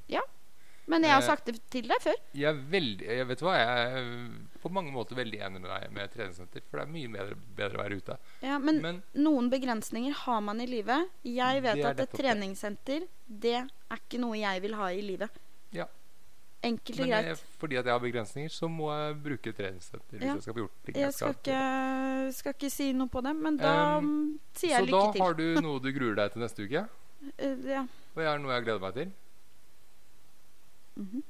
Speaker 1: Men jeg har
Speaker 2: Eh,
Speaker 1: sagt det til deg før.
Speaker 2: Jeg er veldig, jeg vet du hva, jeg er øh, på mange måter veldig enig med deg med treningssenter. For det er mye bedre, bedre å være ute.
Speaker 1: Ja, men
Speaker 2: Men
Speaker 1: Noen begrensninger har man i livet. Jeg vet
Speaker 2: Det er
Speaker 1: at et
Speaker 2: nettopp det.
Speaker 1: treningssenter, det er ikke noe jeg vil ha i livet.
Speaker 2: Ja.
Speaker 1: Enkelt og
Speaker 2: Men eh,
Speaker 1: greit.
Speaker 2: fordi at jeg har begrensninger, så må jeg bruke treningssenter. Hvis
Speaker 1: Ja.
Speaker 2: jeg skal få gjort ting
Speaker 1: Jeg skal ikke, skal ikke si noe på det, men da
Speaker 2: Um,
Speaker 1: mm, sier jeg
Speaker 2: Så da
Speaker 1: lykke til.
Speaker 2: har du noe du gruer deg til neste uke,
Speaker 1: Eh, ja.
Speaker 2: og jeg har noe jeg gleder meg til.
Speaker 1: Mhm.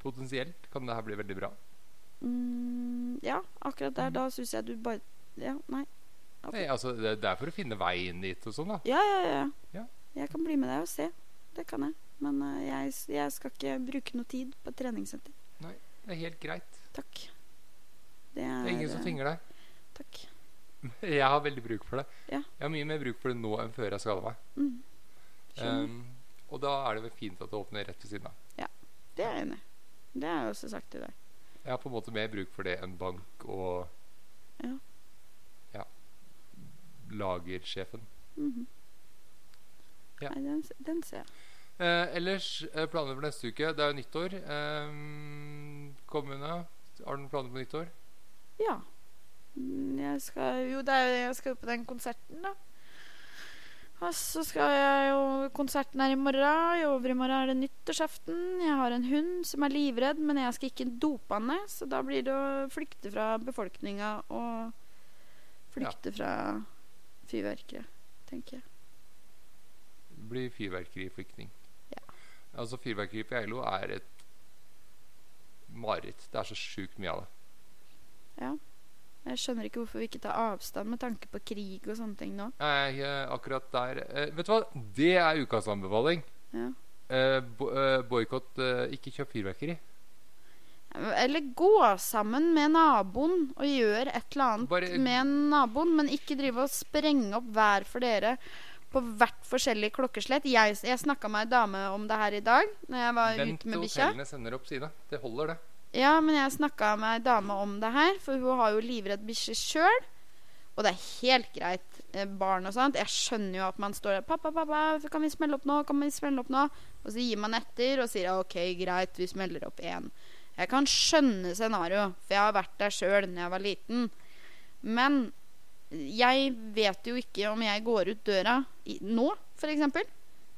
Speaker 2: Potensielt kan det her bli veldig bra.
Speaker 1: Mm, ja, akkurat
Speaker 2: Mhm.
Speaker 1: der. Da syns jeg du bare Ja, nei. Ok.
Speaker 2: Nei, altså, det, det er for å finne veien dit og sånn, da.
Speaker 1: Ja, ja, ja.
Speaker 2: Ja.
Speaker 1: Jeg kan bli med deg og se. Det kan jeg. Men eh, jeg, jeg skal ikke bruke noe tid på et treningssenter.
Speaker 2: Det er helt greit.
Speaker 1: Takk. Det er,
Speaker 2: Det er ingen som
Speaker 1: eh,
Speaker 2: tvinger deg.
Speaker 1: Takk.
Speaker 2: Jeg har veldig bruk for det.
Speaker 1: Ja.
Speaker 2: Jeg har mye mer bruk for det nå enn før jeg skada meg.
Speaker 1: Mm. Skjønner.
Speaker 2: Um, og da er det vel fint at det åpner rett ved siden av.
Speaker 1: Det er jeg enig i. Det har jeg også sagt til deg.
Speaker 2: Jeg har på en måte mer bruk for det enn bank og
Speaker 1: Ja.
Speaker 2: ja lagersjefen.
Speaker 1: Mhm.
Speaker 2: Ja.
Speaker 1: Nei, den, s- den ser jeg.
Speaker 2: Eh, ellers, eh, planer for neste uke. Det er jo nyttår. Eh, kommune, har du noen planer på nyttår?
Speaker 1: Ja. Mm, Jeg skal Jo, det er, jo- jeg skal jo på den konserten, da. Og så skal jeg jo Konserten er i morgen. I overmorgen er det nyttårsaften. Jeg har en hund som er livredd, men jeg skal ikke dope han ned. Så da blir det å flykte fra befolkninga og flykte fra fyrverkeriet, tenker jeg.
Speaker 2: Det blir fyrverkeriflyktning.
Speaker 1: Ja.
Speaker 2: Altså, fyrverkeri på Geilo er et mareritt. Det er så sjukt mye av det.
Speaker 1: Jeg skjønner ikke hvorfor vi ikke tar avstand med tanke på krig og sånne ting nå.
Speaker 2: Nei, eh, akkurat der eh, Vet du hva, det er ukas anbefaling.
Speaker 1: Ja.
Speaker 2: Eh, bo, eh, Boikott eh, Ikke kjøp fyrverkeri.
Speaker 1: Eller gå sammen med naboen og gjør et eller annet
Speaker 2: Bare-
Speaker 1: med naboen, men ikke drive og sprenge opp hver for dere på hvert forskjellig klokkeslett. Jeg, jeg snakka med ei dame om det her i dag når jeg var
Speaker 2: Vent
Speaker 1: ute
Speaker 2: til
Speaker 1: med bikkja.
Speaker 2: hotellene sender opp sida. Det holder, det.
Speaker 1: Ja, men jeg snakka med ei dame om det her, for hun har jo livredd bikkje sjøl. Og det er helt greit, eh, barn og sånt. Jeg skjønner jo at man står der 'Pappa, pappa, kan vi smelle opp nå?' Kan vi smelle opp nå? Og så gir man etter og sier 'OK, greit, vi smeller opp én'. Jeg kan skjønne scenario, for jeg har vært der sjøl da jeg var liten. Men jeg vet jo ikke om jeg går ut døra i, nå, f.eks.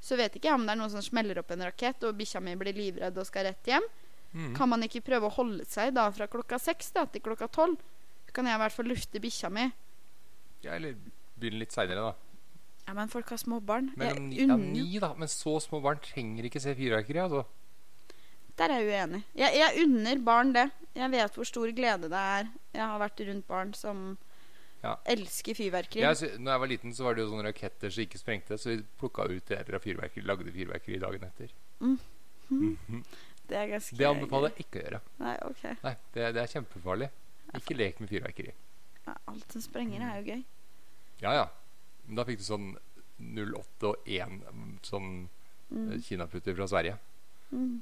Speaker 1: Så vet ikke jeg om det er noen som smeller opp en rakett, og bikkja mi blir livredd og skal rett hjem.
Speaker 2: Mm.
Speaker 1: Kan man ikke prøve å holde seg da fra klokka seks da, til klokka tolv? Så kan jeg i hvert fall lufte bikkja mi.
Speaker 2: Ja, eller begynn litt seinere, da.
Speaker 1: Ja, men folk har små barn. Jeg
Speaker 2: Mellom ni, ja,
Speaker 1: unner
Speaker 2: ni, da. Men så små barn trenger ikke se fyrverkeri. Altså.
Speaker 1: Der er jeg uenig. Jeg, jeg unner barn det. Jeg vet hvor stor glede det er. Jeg har vært rundt barn som
Speaker 2: Ja.
Speaker 1: elsker fyrverkeri.
Speaker 2: Jeg, sy- når jeg var liten, så var det jo sånne raketter som ikke sprengte, så vi plukka ut deler av fyrverkeri, lagde fyrverkeri dagen etter.
Speaker 1: Mm-hmm.
Speaker 2: Mhm.
Speaker 1: Det er ganske
Speaker 2: Det anbefaler jeg ikke å gjøre.
Speaker 1: Nei, ok.
Speaker 2: Nei, Det, det er kjempefarlig. Ikke lek med fyrverkeri.
Speaker 1: Ja, Alt som sprenger, er jo gøy.
Speaker 2: Ja, ja. Men da fikk du sånn 08 og 1 mm, sånn
Speaker 1: Mm.
Speaker 2: eh, kinaputter fra Sverige.
Speaker 1: Mm.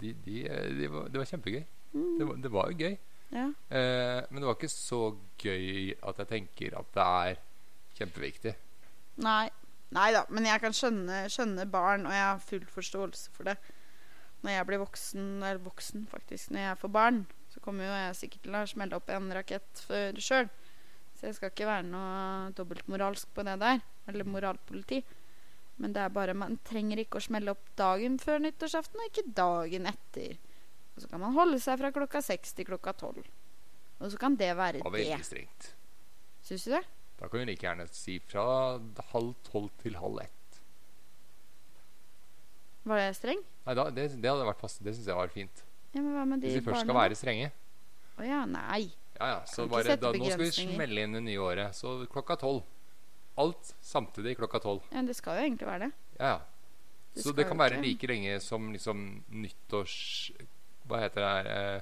Speaker 2: De, de, eh, de var, det var kjempegøy.
Speaker 1: Mm.
Speaker 2: Det var, det var jo gøy.
Speaker 1: Ja.
Speaker 2: Eh, men det var ikke så gøy at jeg tenker at det er kjempeviktig.
Speaker 1: Nei. Nei da, men jeg kan skjønne, skjønne barn, og jeg har full forståelse for det. Når jeg blir voksen, eller voksen faktisk, når jeg får barn, så kommer jo jeg sikkert til å smelle opp en rakett for sjøl. Så jeg skal ikke være noe dobbeltmoralsk på det der, eller moralpoliti. Men det er bare, man trenger ikke å smelle opp dagen før nyttårsaften, og ikke dagen etter. Og så kan man holde seg fra klokka seks til klokka tolv. Og så kan det
Speaker 2: Det
Speaker 1: være
Speaker 2: var
Speaker 1: det.
Speaker 2: veldig strengt.
Speaker 1: Syns du det?
Speaker 2: Da kan vi like gjerne si fra halv tolv til halv ett.
Speaker 1: Var jeg streng?
Speaker 2: Nei, da, det, det hadde vært fast. Det syns jeg var fint.
Speaker 1: Ja, men hva med de
Speaker 2: Hvis vi først skal
Speaker 1: barna?
Speaker 2: være strenge.
Speaker 1: Å ja, nei.
Speaker 2: Ja, ja. Så
Speaker 1: Kan ikke
Speaker 2: bare
Speaker 1: sette
Speaker 2: da, Nå skal vi
Speaker 1: begrensninger.
Speaker 2: smelle inn det nye året. Så klokka tolv. Alt samtidig klokka tolv.
Speaker 1: Ja, det skal jo egentlig være det.
Speaker 2: Ja, ja.
Speaker 1: Det
Speaker 2: så
Speaker 1: skal
Speaker 2: det kan
Speaker 1: jo
Speaker 2: være
Speaker 1: ikke-
Speaker 2: like lenge som liksom nyttårs... Hva heter det her eh,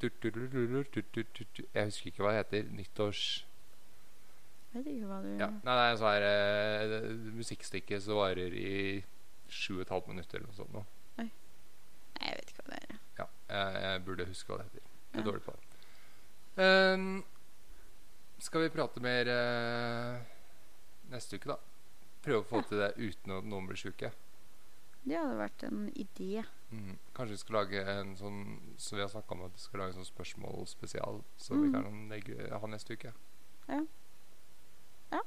Speaker 2: tut, tut, tut, tut, tut, tut, tut, tut. Jeg husker ikke hva det heter. Nyttårs...
Speaker 1: Vet ikke hva du
Speaker 2: Ja. Nei, det er sånn her eh, musikkstykke som varer i sju og et halvt minutt eller noe sånt. nå.
Speaker 1: Nei, jeg vet ikke hva det er.
Speaker 2: Ja, jeg, jeg burde huske hva det heter. Jeg er
Speaker 1: Ja.
Speaker 2: dårlig på det. Ehm, skal vi prate mer eh, neste uke, da? Prøve å få til det uten at noen blir sjuke.
Speaker 1: Det hadde vært en idé.
Speaker 2: Mm. Kanskje vi skal lage en sånn Så vi har snakka om at vi skal lage en sånn spørsmålspesial, så vi
Speaker 1: Mm.
Speaker 2: kan legge, ha neste uke.
Speaker 1: Ja. Ja,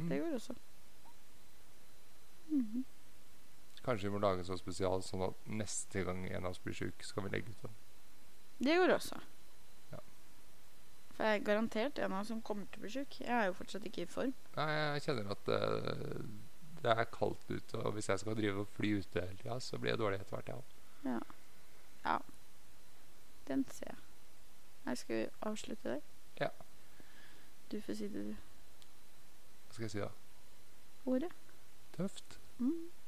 Speaker 2: Mm.
Speaker 1: Det går også. Mhm.
Speaker 2: Kanskje vi må lage en sånn spesial, sånn at neste gang en av oss blir sjuk, så kan vi legge ut sånn. den.
Speaker 1: Det går også.
Speaker 2: Ja.
Speaker 1: For jeg er garantert en av oss som kommer til å bli sjuk. Jeg er jo fortsatt ikke i form.
Speaker 2: Nei, jeg kjenner at eh, det er kaldt ute, og hvis jeg skal drive og fly ute hele tida, så blir jeg dårlig etter hvert, jeg òg.
Speaker 1: Den ser jeg. Jeg skal vi avslutte der.
Speaker 2: Ja.
Speaker 1: Du får si det
Speaker 2: Hva skal jeg si da?
Speaker 1: ordet.
Speaker 2: Tøft.
Speaker 1: Mm.